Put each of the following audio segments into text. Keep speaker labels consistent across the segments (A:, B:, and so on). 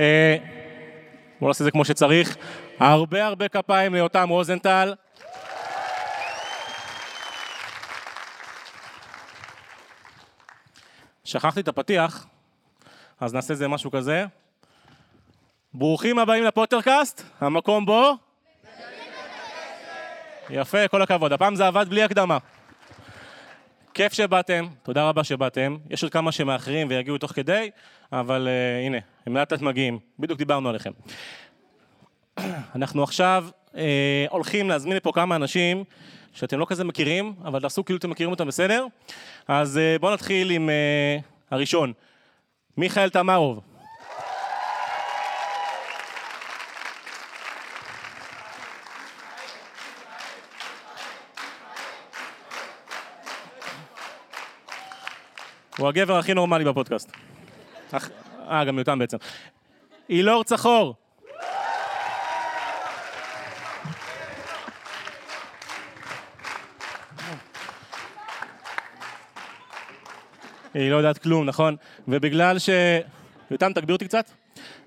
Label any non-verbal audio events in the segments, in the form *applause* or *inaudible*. A: אה, בואו נעשה את זה כמו שצריך. הרבה הרבה כפיים ליותם רוזנטל. שכחתי את הפתיח, אז נעשה איזה משהו כזה. ברוכים הבאים לפוטרקאסט, המקום בו... יפה, כל הכבוד. הפעם זה עבד בלי הקדמה. כיף שבאתם, תודה רבה שבאתם. יש עוד כמה שמאחרים ויגיעו תוך כדי, אבל uh, הנה, הם לאט לאט מגיעים. בדיוק דיברנו עליכם. *clears throat* אנחנו עכשיו uh, הולכים להזמין לפה כמה אנשים שאתם לא כזה מכירים, אבל תעשו כאילו אתם מכירים אותם בסדר. אז uh, בואו נתחיל עם uh, הראשון. מיכאל תמרוב. הוא הגבר הכי נורמלי בפודקאסט. אך- אה, גם יותם בעצם. אילור צחור. היא לא יודעת כלום, נכון? ובגלל ש... יותם, תגביר אותי קצת.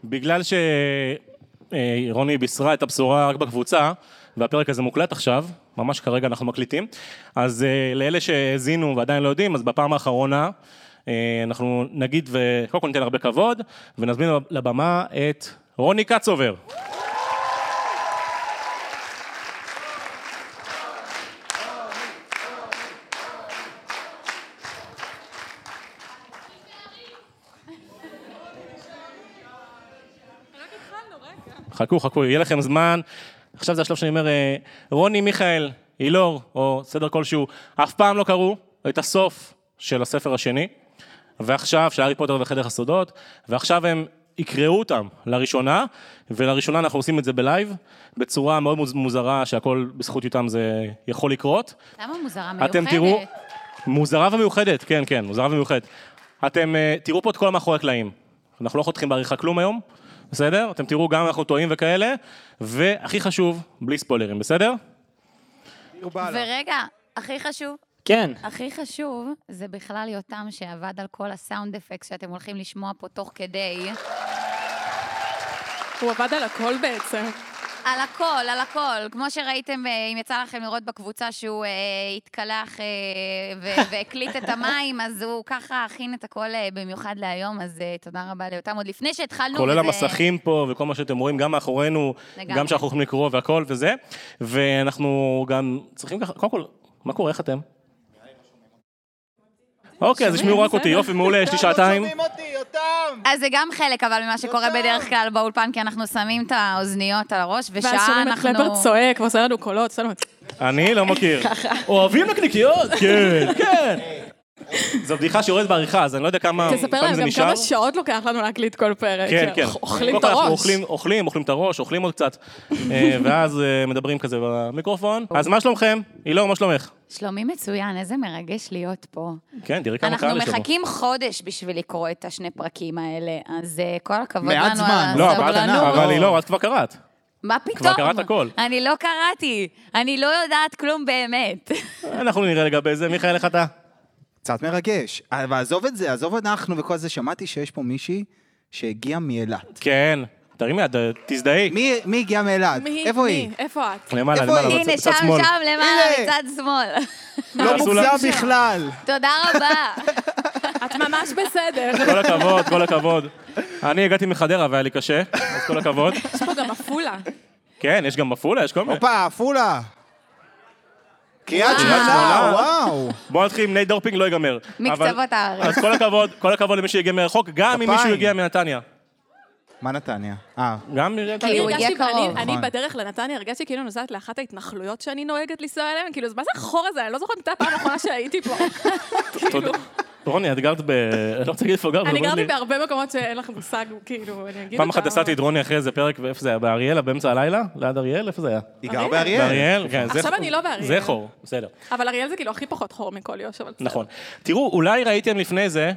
A: בגלל ש... אה, רוני בישרה את הבשורה רק בקבוצה, והפרק הזה מוקלט עכשיו, ממש כרגע אנחנו מקליטים. אז אה, לאלה שהאזינו ועדיין לא יודעים, אז בפעם האחרונה אה, אנחנו נגיד, וקודם כל ניתן הרבה כבוד, ונזמין לבמה את רוני קצובר.
B: רק התחלנו, רגע.
A: חכו, חכו, יהיה לכם זמן. עכשיו זה השלב שאני אומר, אה, רוני מיכאל, אילור, או סדר כלשהו, אף פעם לא קראו את הסוף של הספר השני, ועכשיו, של הארי פוטר וחדר הסודות, ועכשיו הם יקראו אותם לראשונה, ולראשונה אנחנו עושים את זה בלייב, בצורה מאוד מוז- מוזרה, שהכל בזכות יותם זה יכול לקרות.
C: למה מוזרה מיוחדת?
A: אתם תראו... מוזרה ומיוחדת, כן, כן, מוזרה ומיוחדת. אתם אה, תראו פה את כל המאחורי הקלעים. אנחנו לא חותכים בעריכה כלום היום, בסדר? אתם תראו גם אנחנו טועים וכאלה, והכי חשוב, בלי ספוילרים, בסדר?
C: ורגע, הכי חשוב,
D: כן.
C: הכי חשוב, זה בכלל יותם שעבד על כל הסאונד אפקט שאתם הולכים לשמוע פה תוך כדי.
B: הוא עבד על הכל בעצם.
C: על הכל, על הכל. כמו שראיתם, אה, אם יצא לכם לראות בקבוצה שהוא אה, התקלח אה,
A: *laughs*
C: ו- והקליט את המים, אז הוא ככה הכין את הכל אה, במיוחד להיום, אז אה, תודה רבה ליותם. עוד לפני שהתחלנו...
A: כולל
C: וזה-
A: המסכים פה וכל מה שאתם רואים, גם מאחורינו,
C: לגמרי.
A: גם שאנחנו יכולים לקרוא והכל וזה. ואנחנו גם צריכים ככה, קודם כל, מה קורה, איך אתם? אוקיי, אז תשמעו רק אותי, יופי, מעולה,
C: *laughs* לא,
A: יש לי שעתיים.
C: אז זה גם חלק, אבל ממה שקורה בדרך כלל באולפן, כי אנחנו שמים את האוזניות על הראש,
B: ואז
C: ושעה
B: שומעים את
C: אנחנו...
B: קלפר צועק, ועושה לנו קולות, עושה לנו...
A: אני לא מכיר. אוהבים נקניקיות?
B: *laughs*
A: כן, כן. זו בדיחה שיורדת בעריכה, אז אני לא יודע כמה
B: תספר
A: פעמים
B: להם
A: זה
B: גם
A: נשאר.
B: כמה שעות לוקח לנו להקליט כל פרק. כאילו,
A: כן, כן.
B: אוכלים
A: כל
B: את
A: כך אנחנו
B: הראש.
A: אוכלים, אוכלים, אוכלים את הראש, אוכלים עוד קצת, אה, *laughs* ואז אה, מדברים כזה במיקרופון.
B: אוקיי.
A: אז מה שלומכם? אילור, מה שלומך?
C: שלומי מצוין, איזה מרגש להיות פה.
A: כן, תראי כמה
C: אנחנו
A: קהל יש לנו.
C: מחכים חודש בשביל לקרוא את השני פרקים האלה, אז אה, כל הכבוד לנו
E: מעט זמן.
C: על
A: לא, אבל את-
C: הסבלנות.
A: אבל אילור, את כבר קראת.
C: מה פתאום?
A: קראת הכל.
C: אני לא קראתי, אני לא יודעת כלום באמת.
A: אנחנו נראה לגבי זה. מיכאל, איך אתה?
E: קצת מרגש. אבל עזוב את זה, עזוב אנחנו וכל זה. שמעתי שיש פה מישהי שהגיעה מאילת.
A: כן. תרימי יד, אה, תזדהי.
E: מי מי הגיעה מאילת?
B: מי-
E: איפה
B: מי?
E: היא?
B: איפה את?
A: למעלה,
E: איפה
A: למעלה,
E: היא?
A: בצד
C: *laughs* הנה,
A: בצד
C: שם,
A: שמאל.
C: שם, למעלה,
E: הנה.
C: מצד שמאל. *laughs*
E: לא
A: תעשו לה-
E: מוגזם בכלל.
C: תודה רבה.
B: את ממש *laughs* בסדר.
A: כל הכבוד, כל הכבוד. אני הגעתי מחדרה והיה לי קשה, אז כל הכבוד.
B: יש פה גם עפולה.
A: כן, יש גם עפולה, יש כל מיני.
E: הופה, עפולה. קריית שמונה,
A: שמונה.
E: וואו.
A: בוא נתחיל עם נייט דורפינג, לא ייגמר.
C: מקצוות
A: אבל-
C: הארץ.
A: אז כל הכבוד, כל הכבוד למי שהגיע מרחוק, גם אם
E: כפיים.
A: מישהו הגיע מנתניה.
E: מה נתניה? אה,
A: גם מנתניה.
C: הוא
B: הרגשתי-
C: הגיע
B: אני-
C: קרוב.
B: אני
E: נכון.
B: בדרך לנתניה הרגשתי כאילו נוסעת לאחת ההתנחלויות שאני נוהגת לנסוע אליהן, כאילו, אז מה זה החור הזה? אני לא זוכרת מתי הפעם האחרונה שהייתי *laughs* פה.
A: תודה.
B: כאילו,
A: רוני, את גרת ב... אני לא רוצה להגיד איפה גרת,
B: אני
A: אבל
B: גרתי
A: רוני-
B: בהרבה מקומות שאין לכם מושג, כאילו, אני אגיד...
A: פעם
B: אותה.
A: אחת נסעתי את רוני אחרי איזה פרק, ואיפה זה היה? באריאלה? באמצע הלילה? ליד אריאל? איפה זה היה?
E: היא גרה
B: אריאל.
E: באריאל.
A: באריאל? כן, זה
B: עכשיו
A: חור.
B: אני לא באריאל.
A: זה חור, בסדר.
B: אבל אריאל זה כאילו הכי פחות חור מכל יו"ש, אבל... בסדר.
A: נכון. תראו, אולי ראיתם לפני זה,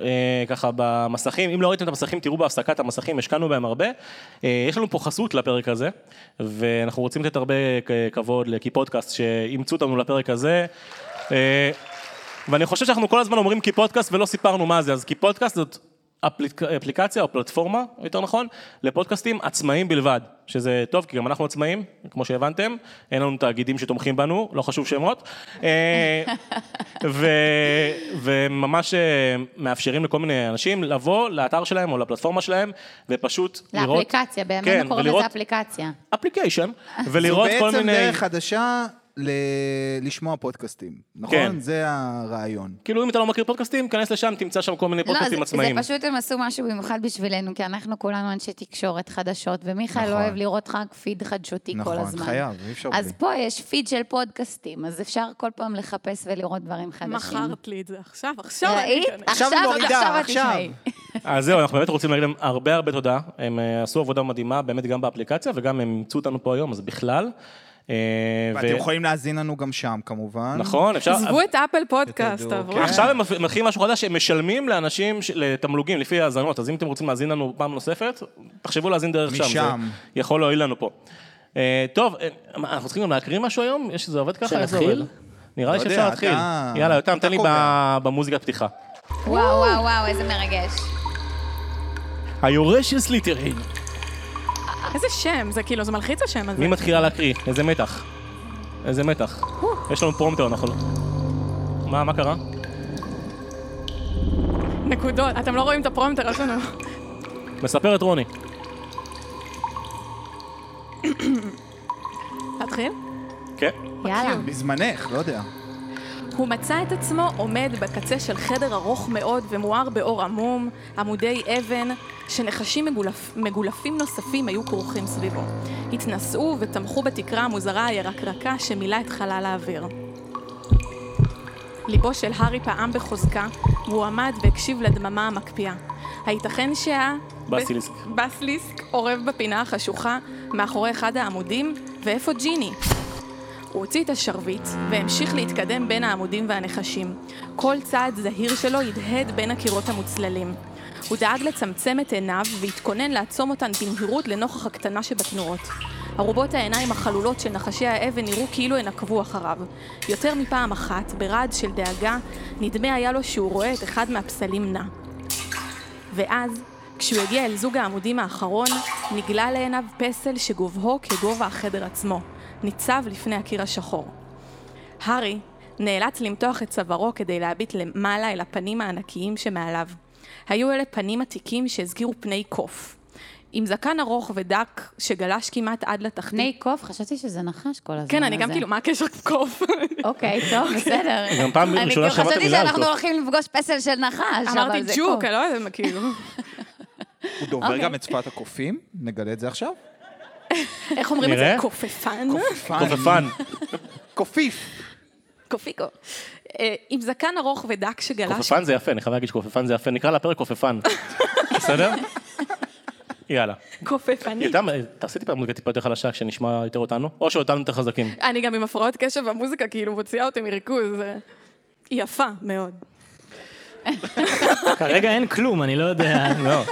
A: אה, ככה במסכים, אם לא ראיתם את המסכים, תראו בהפסקת המסכים, השקענו בהם הרבה. אה, יש לנו פה חסות לפרק הזה, ואנחנו רוצים לתת הרבה אה, כבוד לכיפודקאסט שאימצו אותנו לפרק הזה. אה, ואני חושב שאנחנו כל הזמן אומרים כיפודקאסט ולא סיפרנו מה זה, אז כיפודקאסט זאת אפליק- אפליקציה או פלטפורמה, יותר נכון, לפודקאסטים עצמאיים בלבד, שזה טוב, כי גם אנחנו עצמאים, כמו שהבנתם, אין לנו תאגידים שתומכים בנו, לא חשוב שמות,
C: *laughs*
A: אה, ו, וממש אה, מאפשרים לכל מיני אנשים לבוא לאתר שלהם או לפלטפורמה שלהם, ופשוט לראות...
C: לאפליקציה,
A: כן,
C: בימינו קוראים
A: ולראות-
C: לזה אפליקציה. *laughs*
A: אפליקיישן, ולראות כל
E: זו בעצם
A: מיני...
E: דרך חדשה ל- לשמוע פודקאסטים,
A: כן.
E: נכון? זה הרעיון.
A: כאילו אם אתה לא מכיר פודקאסטים, כנס לשם, תמצא שם כל מיני
C: לא,
A: פודקאסטים
C: זה-
A: עצמאיים.
C: זה פשוט הם עשו משהו במיוחד בשבילנו, כי אנחנו כולנו אנשי תקשורת חדשות, ומיכאל
E: נכון.
C: אוהב לראות רק פיד חדשותי כל
E: נכון,
C: הזמן.
E: חייב, אי אפשר
C: אז
E: בלי.
C: פה יש פיד של פודקאסטים, אז אפשר כל פעם לחפש ולראות דברים חדשים.
B: מכרת לי את זה עכשיו, עכשיו אני
C: ראית?
B: אכנס.
C: עכשיו,
E: היא מורידה,
C: עכשיו את
E: עכשיו.
C: תשמעי.
A: אז זהו, אנחנו באמת רוצים להגיד להם הרבה הרבה תודה. הם אה, עשו עבודה מדהימה, באמת גם באפליקציה, וגם הם אימצו אותנו פה היום, אז בכלל. אה, ו-
E: ואתם יכולים להאזין לנו גם שם, כמובן.
A: נכון, אפשר...
B: עזבו את אפל פודקאסט,
E: שתדעו,
B: עברו.
E: כן.
A: עכשיו הם מפ- מתחילים משהו חדש, הם משלמים לאנשים, ש- לתמלוגים, לפי האזנות, אז אם אתם רוצים להאזין לנו פעם נוספת, תחשבו להאזין דרך שם.
E: משם.
A: זה יכול להועיל לנו פה. אה, טוב, אה, מה, אנחנו צריכים גם להקריא משהו היום? יש- זה עובד ככה? איך זה
F: שנתחיל?
A: עובד? נראה לי
E: לא
A: שאפשר
E: יודע,
A: להתחיל.
E: אתה-
A: יאללה, יותם,
E: אתה
A: תן לי
E: קובע.
A: ב- במוזיקת פתיחה.
G: וואו, וואו, וואו, איזה מרגש.
F: היורש של סליטרין.
B: איזה שם, זה כאילו, זה מלחיץ השם הזה.
A: מי מתחילה להקריא? איזה מתח. איזה מתח. יש לנו פרומטר, אנחנו... לא- מה, מה קרה?
B: נקודות. אתם לא רואים את הפרומטר, לא- יש לנו...
A: מספר את רוני.
B: להתחיל?
A: כן.
C: יאללה.
E: בזמנך, לא יודע.
B: הוא מצא את עצמו עומד בקצה של חדר ארוך מאוד ומואר באור עמום, עמודי אבן, שנחשים מגולפ... מגולפים נוספים היו כרוכים סביבו. התנשאו ותמכו בתקרה המוזרה הירקרקה שמילא את חלל האוויר. ליבו של הארי פעם בחוזקה, והוא עמד והקשיב לדממה המקפיאה. הייתכן שה...
A: בסיליסק.
B: בסליסק אורב בפינה החשוכה, מאחורי אחד העמודים, ואיפה ג'יני? הוא הוציא את השרביט, והמשיך להתקדם בין העמודים והנחשים. כל צעד זהיר שלו הדהד בין הקירות המוצללים. הוא דאג לצמצם את עיניו, והתכונן לעצום אותן במהירות לנוכח הקטנה שבתנועות. ערובות העיניים החלולות של נחשי האבן נראו כאילו הן עקבו אחריו. יותר מפעם אחת, ברעד של דאגה, נדמה היה לו שהוא רואה את אחד מהפסלים נע. ואז, כשהוא הגיע אל זוג העמודים האחרון, נגלה לעיניו פסל שגובהו כגובה החדר עצמו, ניצב לפני הקיר השחור. הארי נאלץ למתוח את צווארו כדי להביט למעלה אל הפנים הענקיים שמעליו. היו אלה פנים עתיקים שהזכירו פני קוף. עם זקן ארוך ודק שגלש כמעט עד לתחתית.
C: פני קוף, חשבתי שזה נחש כל הזמן.
B: כן, אני גם
C: הזה.
B: כאילו, מה הקשר קוף?
C: אוקיי,
B: *laughs*
C: טוב, בסדר.
A: גם פעם
G: אני
A: ראשונה
G: כאילו
A: ששמעתי
G: חשבתי
A: מילה על
G: שאנחנו
A: קוף.
G: הולכים לפגוש פסל של נחש,
B: *laughs* אמרתי
G: אבל זה קוף.
B: ג'וק, אני לא יודעת מה כאילו.
E: הוא דובר
B: אוקיי.
E: גם את שפת הקופים? נגלה את זה עכשיו?
B: *laughs* איך אומרים את זה?
A: נראה.
B: קופפן?
A: קופפן.
E: קופיף.
B: קופיקו. אה, עם זקן ארוך ודק שגלש
A: קופפן זה יפה, אני חייב להגיד שקופפן זה יפה. נקרא לפרק
F: *laughs*
A: קופפן. בסדר? יאללה.
B: קופפנית.
A: יותם, אה, תעשי טיפה מוזיקה טיפה יותר חלשה, כשנשמע יותר אותנו, או שאותנו יותר חזקים.
B: אני גם עם הפרעות קשב והמוזיקה כאילו מוציאה אותי מריכוז. אה, היא יפה מאוד.
F: *laughs* כרגע אין כלום, אני לא יודע.
A: *laughs* לא.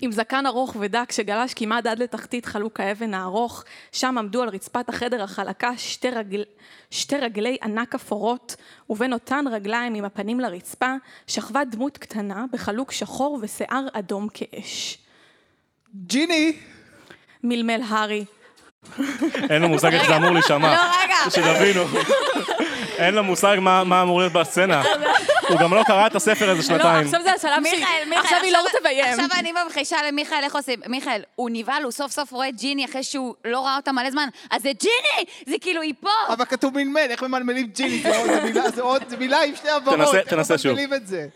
B: עם זקן ארוך ודק שגלש כמעט עד לתחתית חלוק האבן הארוך, שם עמדו על רצפת החדר החלקה שתי, רגל... שתי רגלי ענק אפורות, ובין אותן רגליים עם הפנים לרצפה, שכבה דמות קטנה בחלוק שחור ושיער אדום כאש.
E: ג'יני!
B: מלמל הארי, לא,
A: אין לו מושג איך זה אמור להישמע.
G: לא,
B: *laughs*
G: רגע.
A: *laughs*
F: *laughs*
A: שתבינו. אין לו מושג מה מה אמור להיות בסצנה. הוא גם לא קרא את הספר איזה שנתיים.
B: עכשיו זה השלב שהיא...
G: מיכאל, מיכאל,
B: עכשיו היא לא תביים.
G: עכשיו אני ממחישה למיכאל איך עושים. מיכאל, הוא נבהל, הוא סוף סוף רואה את ג'יני אחרי שהוא לא ראה אותה מלא זמן, אז זה ג'יני! זה כאילו, היא פה!
B: אה,
E: אבל כתוב מלמל, איך ממלמלים ג'יני? זה עוד מילה, זה עוד מילה עם שתי הברות.
A: תנסה-
E: איך
A: תנסה שוב.
E: ממלמלים את זה?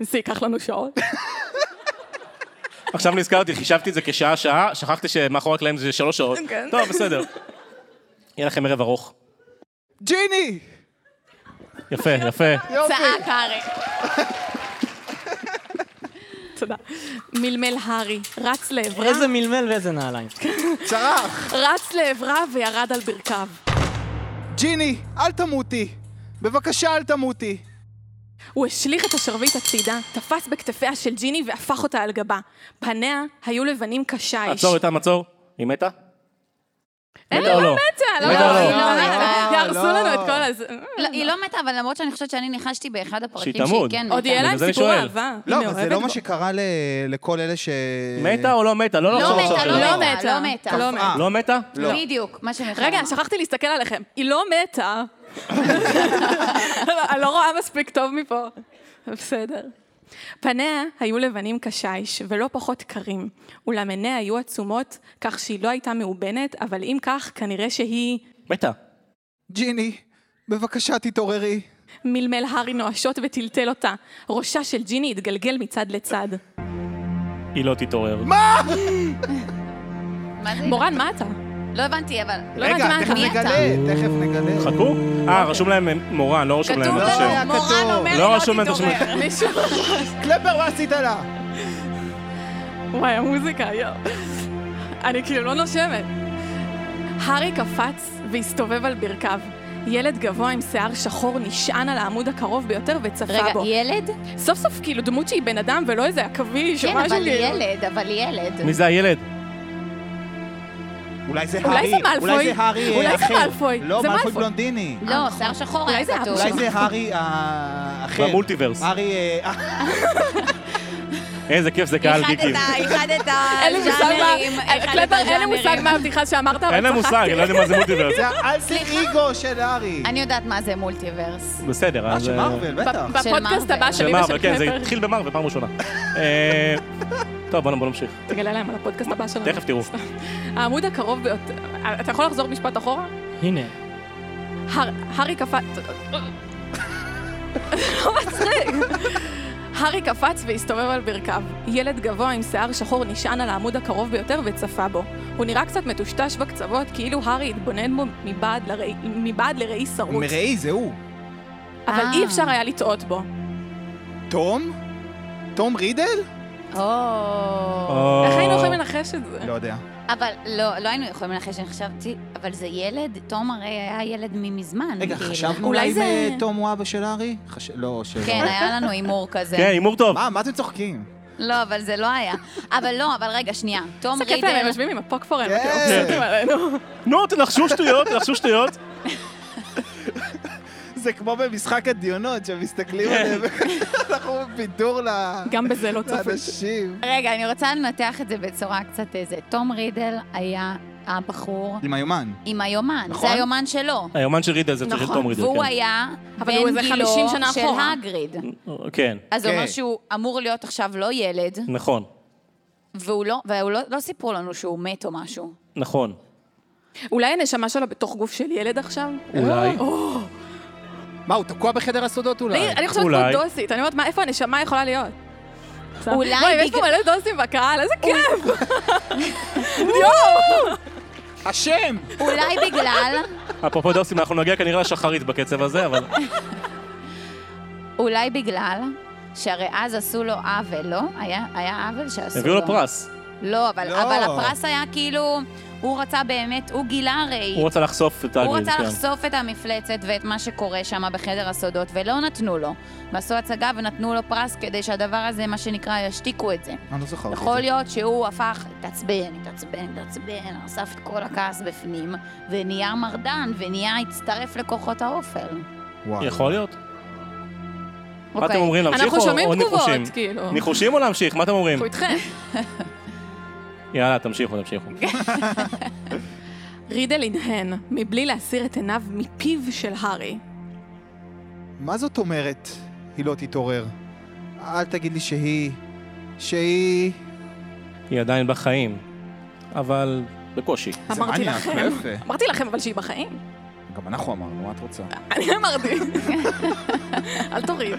B: זה ייקח לנו שעות. *laughs*
A: עכשיו נזכרתי, חישבתי את זה כשעה-שעה, שכחתי שמאחורי הקלעים זה שלוש שעות.
B: כן.
A: טוב, בסדר. יהיה לכם ערב ארוך.
E: ג'יני!
A: יפה, יפה.
G: צעק הארי.
B: תודה. מלמל הארי, רץ לעברה,
F: איזה מלמל ואיזה נעליים.
E: צרח!
B: רץ לעברה וירד על ברכיו.
E: ג'יני, אל תמותי! בבקשה, אל תמותי!
B: הוא השליך את השרביט הצידה, תפס בכתפיה של ג'יני והפך אותה על גבה. פניה היו לבנים קשיש.
A: עצור איתם, עצור. היא מתה?
B: אין,
A: מתה או
B: לא
A: לא?
B: מתה, לא,
A: מתה או
B: לא,
A: לא?
B: היא לא
G: לא,
B: מתה.
G: לא,
B: היא הרסו לנו את כל הז...
G: לא, היא לא מתה, אבל למרות שאני חושבת שאני ניחשתי באחד הפרקים
A: שהיא
G: שהיא
A: תמות.
G: כן מתה.
B: עוד יהיה
A: בגלל
B: להם
A: זה אני
B: סיפור
A: שואל.
B: אהבה.
E: לא,
B: הנה,
E: אבל זה
B: אוהבת
E: לא
B: בו.
E: מה שקרה ל- לכל אלה ש...
A: מתה או לא מתה? לא
G: לא
A: נחשוב עכשיו
G: מתה,
A: שלא.
G: לא
B: לא
G: מתה,
B: מתה.
G: לא מתה.
B: לא מתה.
E: קפאה.
A: לא מתה?
E: לא.
G: בדיוק, מה שמיכל
B: רגע,
G: אמרה.
B: שכחתי להסתכל עליכם. היא לא מתה. *laughs* אני לא רואה מספיק טוב מפה. בסדר. פניה היו לבנים קשיש, ולא פחות קרים, אולם עיניה היו עצומות, כך שהיא לא הייתה מאובנת, אבל אם כך, כנראה שהיא
A: מתה.
E: ג'יני, בבקשה תתעוררי.
B: מלמל הארי נואשות וטלטל אותה. ראשה של ג'יני התגלגל מצד לצד.
A: היא לא תתעורר.
G: מה זה?
B: מורן, מה אתה?
G: לא הבנתי, אבל...
B: לא הבנתי מה
E: תכף
B: אתה.
G: מי אתה?
E: נגלה, תכף נגלה.
A: חכו? אה, רשום להם מורן, לא רשום להם
B: כתוב
A: את
E: לא
A: השם.
E: היה.
B: לנו, מורן
E: כתוב.
B: אומר,
A: לא
B: לא
A: רשום להם את השם.
B: תתעורר. מישהו-
E: קלפר, מה עשית לה?
B: וואי, המוזיקה היום. אני כאילו לא נושמת. הארי קפץ והסתובב על ברכיו. ילד גבוה עם שיער שחור נשען על העמוד הקרוב ביותר וצפה
C: רגע,
B: בו.
C: ילד?
B: סוף סוף כאילו דמות שהיא בן אדם ולא איזה עכביש או
C: כן,
B: משהו
C: אבל
B: כאילו.
C: ילד, אבל ילד.
B: לא.
A: מי זה הילד?
E: אולי זה
B: אולי
E: הארי,
B: זה מאלפוי.
E: אולי זה הארי
B: אולי זה
E: אחר.
B: מאלפוי.
E: לא,
B: זה
E: מאלפוי
B: מאלפוי.
E: בלונדיני.
C: לא, שיער שחור
B: אולי
C: היה
B: זה אבא
C: כתוב.
B: שלו.
E: אולי זה הארי אה, האחר.
A: במולטיברס.
E: הארי... אה,
A: איזה כיף זה קהל גיקי.
G: איחדת
B: אין לי מושג מה... קלפר, אין לי מושג מה הבדיחה שאמרת, אבל
A: אין להם מושג, אני לא יודע מה זה
B: *laughs*
A: מולטיברס.
E: זה האלטר איגו של הארי.
C: אני יודעת מה זה מולטיברס.
A: בסדר,
E: אה,
A: אז...
E: של
A: אה,
E: מארוול, בטח.
B: ב- בפודקאסט
C: של
B: הבא
A: של
B: שלי ושל
A: מארוול, כן, זה
B: קלפר.
A: התחיל במארוול, פעם ראשונה. אה, טוב, בוא בוא נמשיך.
B: תגלה להם על הפודקאסט הבא שלנו.
A: תכף תראו.
B: העמוד הקרוב ביותר... אתה יכול לחזור משפט אחורה?
F: הנה.
B: הר... הארי קפץ... לא מצחיק. הארי קפץ והסתובב על ברכיו. ילד גבוה עם שיער שחור נשען על העמוד הקרוב ביותר וצפה בו. הוא נראה קצת מטושטש בקצוות, כאילו הארי התבונן בו מבעד, לראי... מבעד לראי שרוץ.
E: מראי, זה הוא.
B: אבל
C: אה.
B: אי אפשר היה לטעות בו.
E: תום? תום רידל?
C: או...
A: או,
B: איך היינו יכולים לנחש את זה?
E: לא יודע.
C: אבל לא, לא היינו יכולים לנחש, אני חשבתי, אבל זה ילד, תום הרי היה ילד ממזמן.
E: רגע,
C: כאילו.
E: חשבנו
B: אולי
E: אולי אם
B: זה-
E: אה, תום הוא אבא של הארי? חש- לא, שלא.
C: כן, היה לנו הימור כזה.
A: כן, הימור טוב.
E: מה, מה אתם צוחקים?
C: לא, אבל זה לא היה. אבל לא, אבל רגע, שנייה. תום
B: איזה כיף להם, הם
C: רידל...
B: יושבים עם הפוקפורן,
E: כן.
B: וכאילו, מבסוטים עלינו.
A: נו, תנחשו שטויות, תנחשו שטויות.
E: זה כמו במשחק הדיונות, שמסתכלים עליהם, *laughs* אנחנו בידור ל-
B: גם בזה לא
E: אה,
B: צופים.
E: לאנשים.
C: רגע, אני רוצה לנתח את זה בצורה קצת איזה. תום רידל היה הבחור
E: עם היומן.
C: עם היומן.
E: נכון.
C: זה היומן שלו.
A: היומן של רידל זה של
B: נכון,
A: תום רידל,
C: והוא
A: כן.
C: היה
B: אבל הוא איזה
C: בן
B: 50
C: גילו
B: שנה
C: של
B: אחורה.
C: הגריד.
A: כן,
C: אז זה
E: כן.
C: אומר שהוא אמור להיות עכשיו לא ילד,
A: נכון,
C: והוא לא, והוא לא, לא סיפרו לנו שהוא מת או משהו.
A: נכון.
B: אולי הנשמה שלו בתוך גוף של ילד עכשיו?
A: אולי.
B: או,
E: מה, הוא תקוע בחדר הסודות אולי?
B: אני חושבת כמו
A: אולי.
B: דוסית, אני אומרת, מה, איפה הנשמה יכולה להיות?
C: אולי
B: בואי, יש פה
C: בגלל-
B: מלא דוסים בקהל, איזה כיף!
E: השם!
C: אולי בגלל,
A: אפרופו דוסים, אנחנו נגיע כנראה לשחרית בקצב הזה, אבל...
C: אולי בגלל שהרי אז עשו לו עוול, לא? היה, היה עוול שעשו לו.
A: הביאו לו פרס.
C: לא, אבל,
E: לא.
C: אבל הפרס היה כאילו, הוא רצה באמת, הוא גילה הרי.
A: הוא רצה לחשוף את
C: הוא
A: הגריד,
C: רצה
A: כן.
C: לחשוף את המפלצת ואת מה שקורה שם בחדר הסודות, ולא נתנו לו. ועשו הצגה ונתנו לו פרס כדי שהדבר הזה, מה שנקרא, ישתיקו את זה.
E: אני לא זוכר.
C: יכול להיות שהוא הפך, התעצבן, התעצבן, התעצבן, אסף את כל הכעס בפנים, ונהיה מרדן, ונהיה, הצטרף לכוחות האופל.
E: וואו.
A: יכול להיות. מה אתם
C: אוקיי.
A: אומרים, להמשיך
B: אנחנו
A: או
B: שומעים
A: או
B: תגובות,
A: ניחושים?
B: כאילו.
A: ניחושים או להמשיך? מה אתם אומרים?
B: אנחנו איתכם.
A: יאללה, תמשיכו, תמשיכו.
B: רידל הנהן, מבלי להסיר את עיניו מפיו של הארי.
E: מה זאת אומרת, היא לא תתעורר? אל תגיד לי שהיא... שהיא...
A: היא עדיין בחיים, אבל בקושי.
B: אמרתי
E: מניאק,
B: לכם.
E: לא יפה.
B: אמרתי לכם אבל שהיא בחיים. *laughs*
E: גם אנחנו אמרנו, מה את רוצה?
B: אני אמרתי. אל תוריד.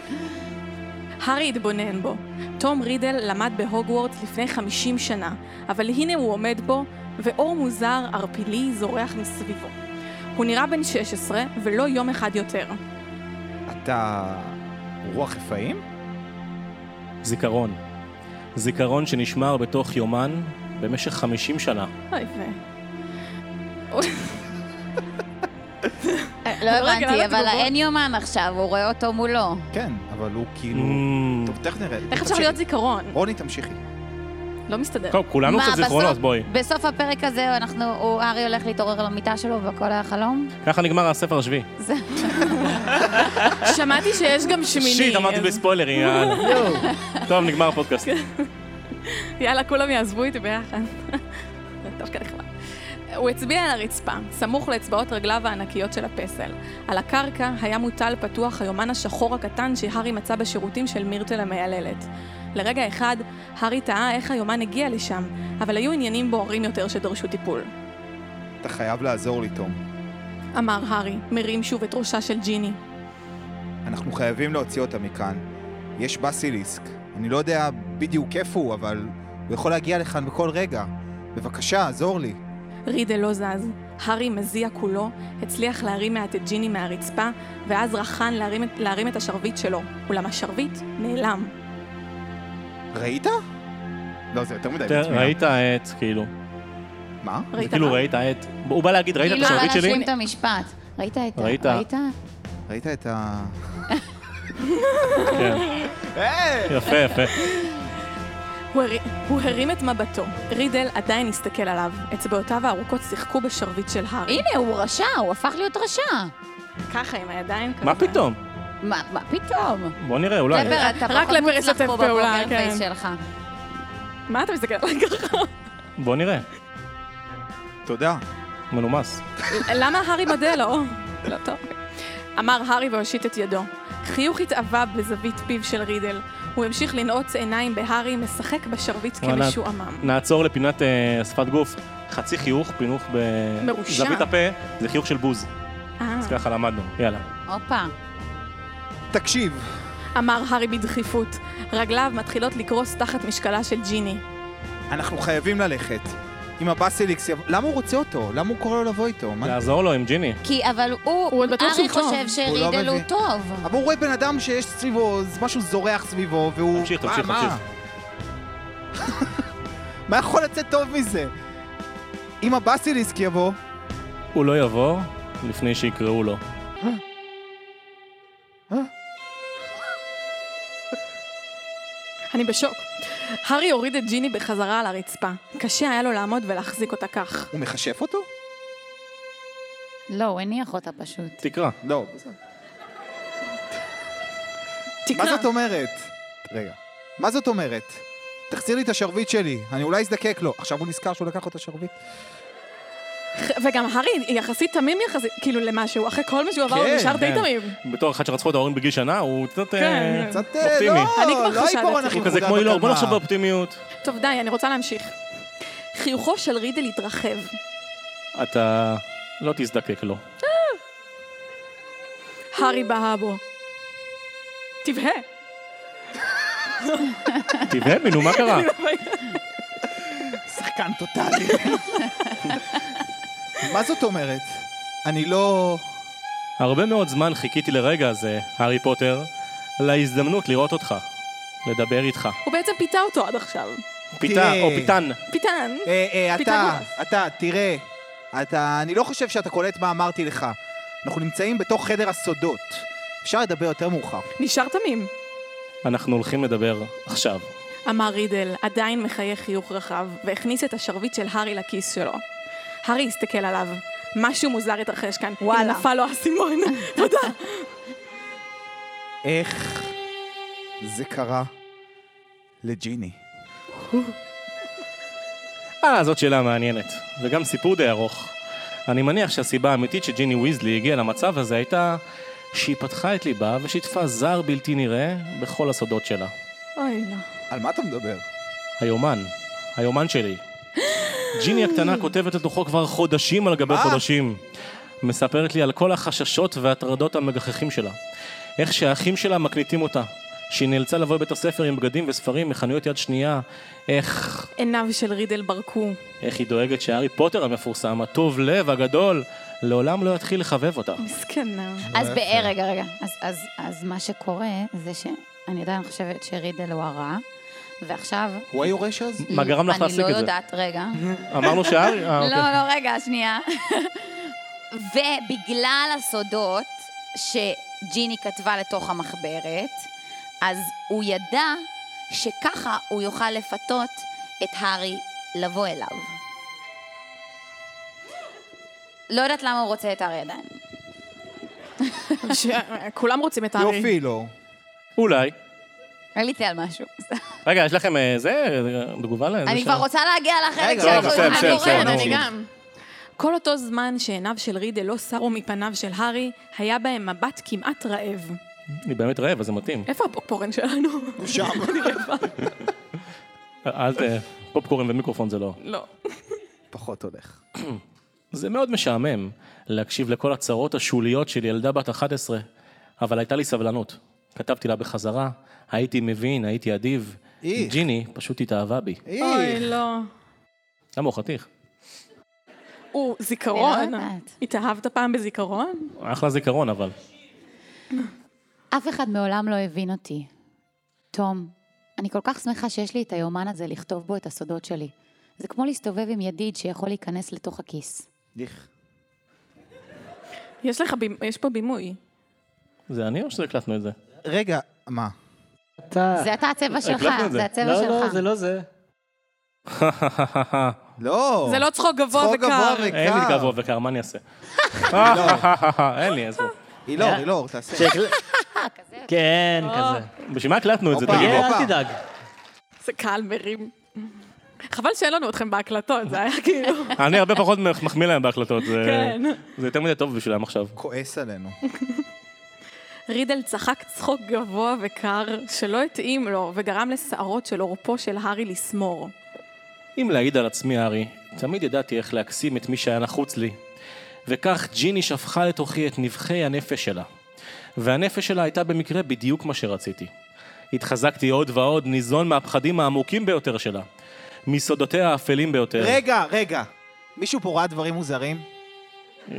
B: הארי התבונן בו. תום רידל למד בהוגוורטס לפני 50 שנה, אבל הנה הוא עומד בו, ואור מוזר ערפילי זורח מסביבו. הוא נראה בן 16, ולא יום אחד יותר.
E: אתה... רוח רפאים?
A: זיכרון. זיכרון שנשמר בתוך יומן במשך 50 שנה.
B: אוי ו...
C: לא
B: רגע, למה
C: הבנתי, אבל
B: תגובות?
C: האין יומן עכשיו, הוא רואה אותו מולו.
E: כן, אבל הוא כאילו...
A: Mm.
E: טוב, תכף נראה.
B: איך אפשר
E: תמשיכי.
B: להיות זיכרון?
E: רוני, תמשיכי.
B: לא מסתדר.
A: טוב, כולנו
G: מה,
A: קצת זיכרונות,
G: בסוף-
A: בואי.
G: בסוף הפרק הזה אנחנו, הוא- ארי הולך להתעורר למיטה שלו והכל היה חלום?
A: ככה נגמר הספר השביעי.
G: זה...
B: שמעתי שיש גם שמיני.
A: *laughs* שיט, אמרתי
B: אז-
A: בלי ספוילרים, יאללה. טוב, נגמר הפודקאסט.
B: כן. יאללה, כולם יעזבו איתי ביחד. *laughs* זה דווקא נחמד. הוא הצביע על הרצפה, סמוך לאצבעות רגליו הענקיות של הפסל. על הקרקע היה מוטל פתוח היומן השחור הקטן שהארי מצא בשירותים של מירטל המייללת. לרגע אחד, הארי טעה איך היומן הגיע לשם, אבל היו עניינים בוערים יותר שדרשו טיפול.
E: אתה חייב לעזור לי, תום.
B: אמר הארי, מרים שוב את ראשה של ג'יני.
E: אנחנו חייבים להוציא אותה מכאן. יש בסיליסק. אני לא יודע בדיוק איפה הוא, אבל הוא יכול להגיע לכאן בכל רגע. בבקשה, עזור לי.
B: רידל לא זז. הארי מזיע כולו, הצליח להרים מעט את ג'יני מהרצפה, ואז רחן להרים, את- להרים את השרביט שלו, אולם השרביט נעלם.
E: ראית? לא, זה יותר מדי.
A: אתה
E: מצמיע.
A: ראית את, כאילו.
E: *laughs* מה?
A: זה
B: ראית
A: כאילו
B: מה?
A: ראית את. הוא בא להגיד, ראית את
G: כאילו,
A: השרביט
G: אבל
A: שלי?
G: להשלים את המשפט. ראית את ה...
A: ראית.
G: ראית?
E: ראית את ה...
A: כן. יפה, יפה.
B: הוא, הר... הוא הרים את מבטו. רידל עדיין הסתכל עליו. אצבעותיו הארוכות שיחקו בשרביט של הארי.
G: הנה, הוא רשע, הוא הפך להיות רשע.
B: ככה עם הידיים ככה.
A: מה פתאום?
G: מה מה פתאום?
A: בוא נראה, אולי.
G: דבר, אתה
B: רק
G: פחות
B: לפרס
G: מוצלח
B: לתת
G: פה
B: פעולה,
G: בפוקר פייס
B: כן.
G: שלך.
B: מה אתה מסתכל עליי ככה?
A: בוא נראה.
E: תודה.
A: מנומס.
B: למה הארי מודה לו? לא טוב. אמר הארי והושיט את ידו. חיוך התאווה בזווית פיו של רידל. הוא המשיך לנעוץ עיניים בהארי, משחק בשרביט
A: וואלה.
B: כמשועמם.
A: נעצור לפינת אה, שפת גוף. חצי חיוך, פינוך ב...
B: מרושע.
A: זווית הפה, זה חיוך של בוז.
B: אה.
A: אז ככה למדנו, יאללה.
G: הופה.
E: תקשיב.
B: אמר הארי בדחיפות. רגליו מתחילות לקרוס תחת משקלה של ג'יני.
E: אנחנו חייבים ללכת. עם הבאסיליקס, יב- למה הוא רוצה אותו? למה הוא קורא לו לבוא איתו? מה?
A: לעזור לו עם ג'יני.
G: כי, אבל
B: הוא
G: הוא...
B: עוד בטוח
G: ארי
B: שהוא טוב.
G: חושב
E: הוא לא
G: שרידל הוא
E: מבין.
G: טוב.
E: אבל הוא רואה בן אדם שיש סביבו, משהו זורח סביבו, והוא...
A: תמשיך,
E: מה,
A: תמשיך,
E: מה?
A: תמשיך.
E: *laughs* מה יכול לצאת טוב מזה? אם הבאסיליסק יבוא,
A: הוא לא יבוא לפני שיקראו לו.
B: אני בשוק. הארי הוריד את ג'יני בחזרה על הרצפה. קשה היה לו לעמוד ולהחזיק אותה כך.
E: הוא מכשף אותו?
G: לא, הוא הניח אותה פשוט.
A: תקרא.
E: לא.
B: תקרא.
E: מה זאת אומרת? רגע. מה זאת אומרת? תחזיר לי את השרביט שלי, אני אולי אזדקק לו. עכשיו הוא נזכר שהוא לקח לו את השרביט?
A: כן.
B: וגם הארי יחסית תמים יחסית, כאילו למשהו, אחרי כל מה שהוא עבר, הוא
E: כן,
B: נשאר די
A: כן.
B: תמים.
A: בתור אחד שרצחו את ההורים בגיל שנה, הוא קצת... אה,
B: כן.
E: קצת... אה,
A: אופטימי.
E: לא,
B: אני כבר
E: לא
B: חשדתי.
E: העיפרון הכי
A: הוא כזה
E: מחודד
A: כמו אילור, בוא
E: בקלמר.
A: נחשוב באופטימיות.
B: טוב, די, אני רוצה להמשיך. חיוכו של רידל התרחב.
A: אתה לא תזדקק לו.
B: הארי בהה בו. תבהה.
A: תבהה ממנו, מה
E: אה.
A: קרה?
E: שחקן טוטאלי. מה זאת אומרת? אני לא...
A: הרבה מאוד זמן חיכיתי לרגע הזה, הארי פוטר, להזדמנות לראות אותך, לדבר איתך.
B: *laughs* הוא בעצם פיתה אותו עד עכשיו.
A: פיתה,
E: תראה.
A: או פיתן.
B: פיתן.
E: אה, אה, אתה,
B: פיתגורס.
E: אתה, תראה, אתה, אני לא חושב שאתה קולט מה אמרתי לך. אנחנו נמצאים בתוך חדר הסודות. אפשר לדבר יותר מאוחר.
B: נשאר תמים.
A: אנחנו הולכים לדבר עכשיו.
B: אמר רידל, עדיין מחייך חיוך רחב, והכניס את השרביט של הארי לכיס שלו. הארי הסתכל עליו. משהו מוזר התרחש כאן.
G: וואלה.
B: אם נפל לו האסימון. תודה.
E: איך זה קרה לג'יני?
A: אה, זאת שאלה מעניינת, וגם סיפור די ארוך. אני מניח שהסיבה האמיתית שג'יני ויזלי הגיעה למצב הזה הייתה שהיא פתחה את ליבה ושיתפה זר בלתי נראה בכל הסודות שלה.
B: אוי, לא.
E: על מה אתה מדבר?
A: היומן, היומן שלי. ג'יני הקטנה כותבת לתוכו כבר חודשים על גבי חודשים. מספרת לי על כל החששות והטרדות המגחכים שלה. איך שהאחים שלה מקניטים אותה. שהיא נאלצה לבוא לבית הספר עם בגדים וספרים מחנויות יד שנייה. איך...
B: עיניו של רידל ברקו.
A: איך היא דואגת שהארי פוטר המפורסם, הטוב לב, הגדול, לעולם לא יתחיל לחבב אותה.
B: מסכנה.
G: אז ב- רגע, רגע. אז- אז- אז מה שקורה זה שאני עדיין חושבת שרידל הוא הרע, ועכשיו...
E: הוא היורש אז?
A: מה גרם לך להסיק
G: אני
A: את
G: לא
A: זה?
G: יודעת, רגע.
A: אמרנו שהארי... אה,
G: לא,
A: אוקיי.
G: לא, רגע, שנייה. *laughs* ובגלל הסודות שג'יני כתבה לתוך המחברת, אז הוא ידע שככה הוא יוכל לפתות
C: את הארי לבוא אליו. לא יודעת למה הוא רוצה את הארי עדיין.
B: ש- כולם רוצים את הארי.
E: יופי לא. לו.
A: אולי.
C: עליתי על משהו.
A: רגע, יש לכם אה, זה? אה, תגובה לזה?
C: אני כבר רוצה להגיע לחלק
E: רגע,
C: של
E: רגע,
C: אנחנו-
A: בסדר, בסדר,
C: כן, אני
A: בסדר,
C: יורדת.
A: נו.
B: אני גם. כל אותו זמן שעיניו של רידל לא סרו מפניו של הארי, היה בהם מבט כמעט רעב.
A: אני באמת רעב, אז זה מתאים.
B: איפה הפופקורן שלנו? *laughs*
E: הוא שם.
A: אל ת...
G: אה.
A: פופקורן ומיקרופון זה לא.
B: לא.
E: פחות הולך.
A: זה מאוד משעמם להקשיב לכל הצרות השוליות של ילדה בת 11, אבל הייתה לי סבלנות. כתבתי לה בחזרה, הייתי מבין, הייתי אדיב.
E: איך.
A: ג'יני פשוט התאהבה בי.
B: אוי, לא.
A: למה הוא חתיך?
B: הוא זיכרון.
C: אני לא יודעת.
B: התאהבת פעם בזיכרון?
A: אחלה זיכרון, אבל.
C: אף אחד מעולם לא הבין אותי. תום, אני כל כך שמחה שיש לי את היומן הזה לכתוב בו את הסודות שלי. זה כמו להסתובב עם ידיד שיכול להיכנס לתוך הכיס.
E: איך.
B: יש לך, בימ- יש פה בימוי.
A: זה אני או שהקלטנו את
E: *laughs*
A: זה?
E: רגע, מה?
F: אתה...
C: זה אתה הצבע שלך,
A: הקלטנו את זה.
C: אה, זה הצבע
F: לא, לא,
C: שלך.
F: זה לא זה.
E: לא.
B: זה לא צחוק גבוה
E: צחוק גבוה
B: וקר.
E: וקר.
A: אין לי גבוה וקר, מה אני אעשה?
E: לא.
A: *laughs* אין לי, עזבו.
E: אילור,
A: אה?
E: אילור, לא, תעשה.
F: כן, כזה.
A: בשביל מה הקלטנו את זה,
E: הופה.
A: תגידו?
F: כן,
E: הופה.
F: אל תדאג.
B: זה קהל מרים. חבל שאין לנו אתכם בהקלטות, זה היה כאילו...
A: אני הרבה פחות מח- מחמיא להם בהקלטות. זה-
B: כן.
A: זה יותר מדי טוב בשבילם עכשיו.
E: כועס עלינו.
B: *laughs*
A: כן.
B: רידל צחק צחוק גבוה וקר, שלא התאים לו, וגרם לשערות של עורפו של הארי לסמור.
A: אם להעיד על עצמי, ארי, תמיד ידעתי איך להקסים את מי שהיה נחוץ לי. וכך ג'יני שפכה לתוכי את נבחי הנפש שלה. והנפש שלה הייתה במקרה בדיוק מה שרציתי. התחזקתי עוד ועוד ניזון מהפחדים העמוקים ביותר שלה. מסודותיה האפלים ביותר.
E: רגע, רגע. מישהו פה ראה דברים מוזרים?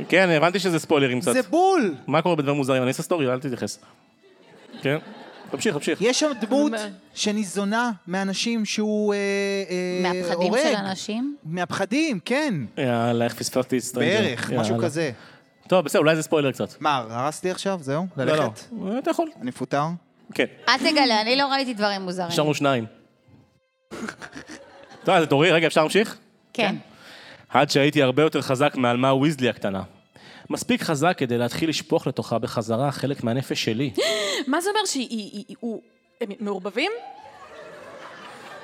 A: כן, הבנתי שזה ספוילרים קצת.
E: זה בול!
A: מה קורה בדברים מוזרים? אני אעשה סטורי, אל תתייחס. כן? תמשיך, תמשיך.
E: יש שם דמות
B: מה?
E: שניזונה מאנשים שהוא אה, אה, הורג.
C: מהפחדים של אנשים?
E: מהפחדים, כן.
A: יאללה, איך פספסתי את סטרנג'ר.
E: בערך, משהו
A: כן. יאללה.
E: כזה.
A: טוב, בסדר, אולי זה ספוילר קצת.
E: מה, הרסתי עכשיו? זהו?
A: לא,
E: ללכת?
A: לא. אתה יכול.
E: אני מפוטר?
C: לא,
A: כן.
C: אל תגלה, אני לא ראיתי דברים מוזרים.
A: נשארנו שניים. *laughs* טוב, אז תורי, רגע, אפשר להמשיך?
C: כן.
A: עד שהייתי הרבה יותר חזק מעלמה ויזלי הקטנה. מספיק חזק כדי להתחיל לשפוך לתוכה בחזרה חלק מהנפש שלי.
B: מה זה אומר שהיא... היא- היא- הוא... הם מעורבבים?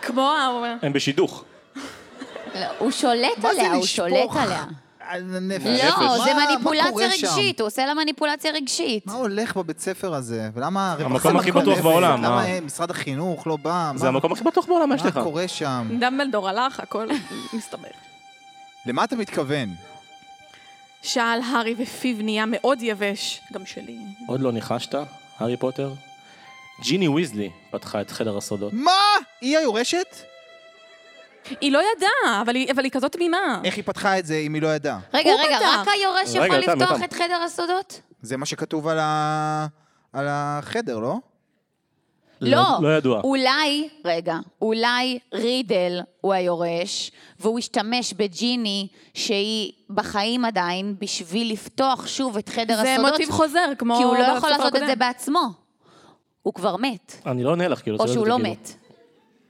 B: כמו ה...
A: הם בשידוך.
C: לא, הוא שולט
E: מה זה
C: עליה, הוא
E: לשפוך?
C: שולט עליה.
E: על הנפש.
C: לא,
E: מה-
C: זה
E: מה
C: מניפולציה
E: קורה שם?
C: רגשית, הוא עושה לה מניפולציה רגשית.
E: מה הולך בבית ספר הזה? ולמה הרווחה...
A: המקום הכי
E: מתעלפת?
A: בטוח בעולם,
E: למה
A: מה?
E: אה, משרד החינוך לא בא?
A: זה
E: מה-
A: המקום הכי בטוח בעולם, מה יש לך?
E: מה קורה שם?
B: דמבלדור הלך, הכל מסתבר.
E: למה אתה מתכוון?
B: שאל הארי ופיו נהיה מאוד יבש, גם שלי.
A: עוד לא ניחשת, הארי פוטר? ג'יני ויזלי פתחה את חדר הסודות.
E: מה? היא היורשת?
B: היא לא ידעה, אבל היא, אבל היא כזאת תמימה.
E: איך היא פתחה את זה אם היא לא ידעה?
C: רגע,
B: הוא
C: רגע,
B: פתח.
C: רק היורש
A: רגע,
C: יכול
A: יותם,
C: לפתוח
A: יותם.
C: את חדר הסודות?
E: זה מה שכתוב על ה... על החדר, לא?
C: לא.
A: לא ידוע.
C: אולי, רגע, אולי רידל הוא היורש, והוא השתמש בג'יני, שהיא בחיים עדיין, בשביל לפתוח שוב את חדר
B: זה
C: הסודות.
B: מוטיב חוזר, כמו...
C: כי הוא לא יכול
B: בספר
C: לעשות את
B: הקודם.
C: זה בעצמו. הוא כבר מת,
A: אני לא עונה לך, כאילו.
C: או
A: זה
C: שהוא
A: זה,
C: לא
A: כאילו.
C: מת.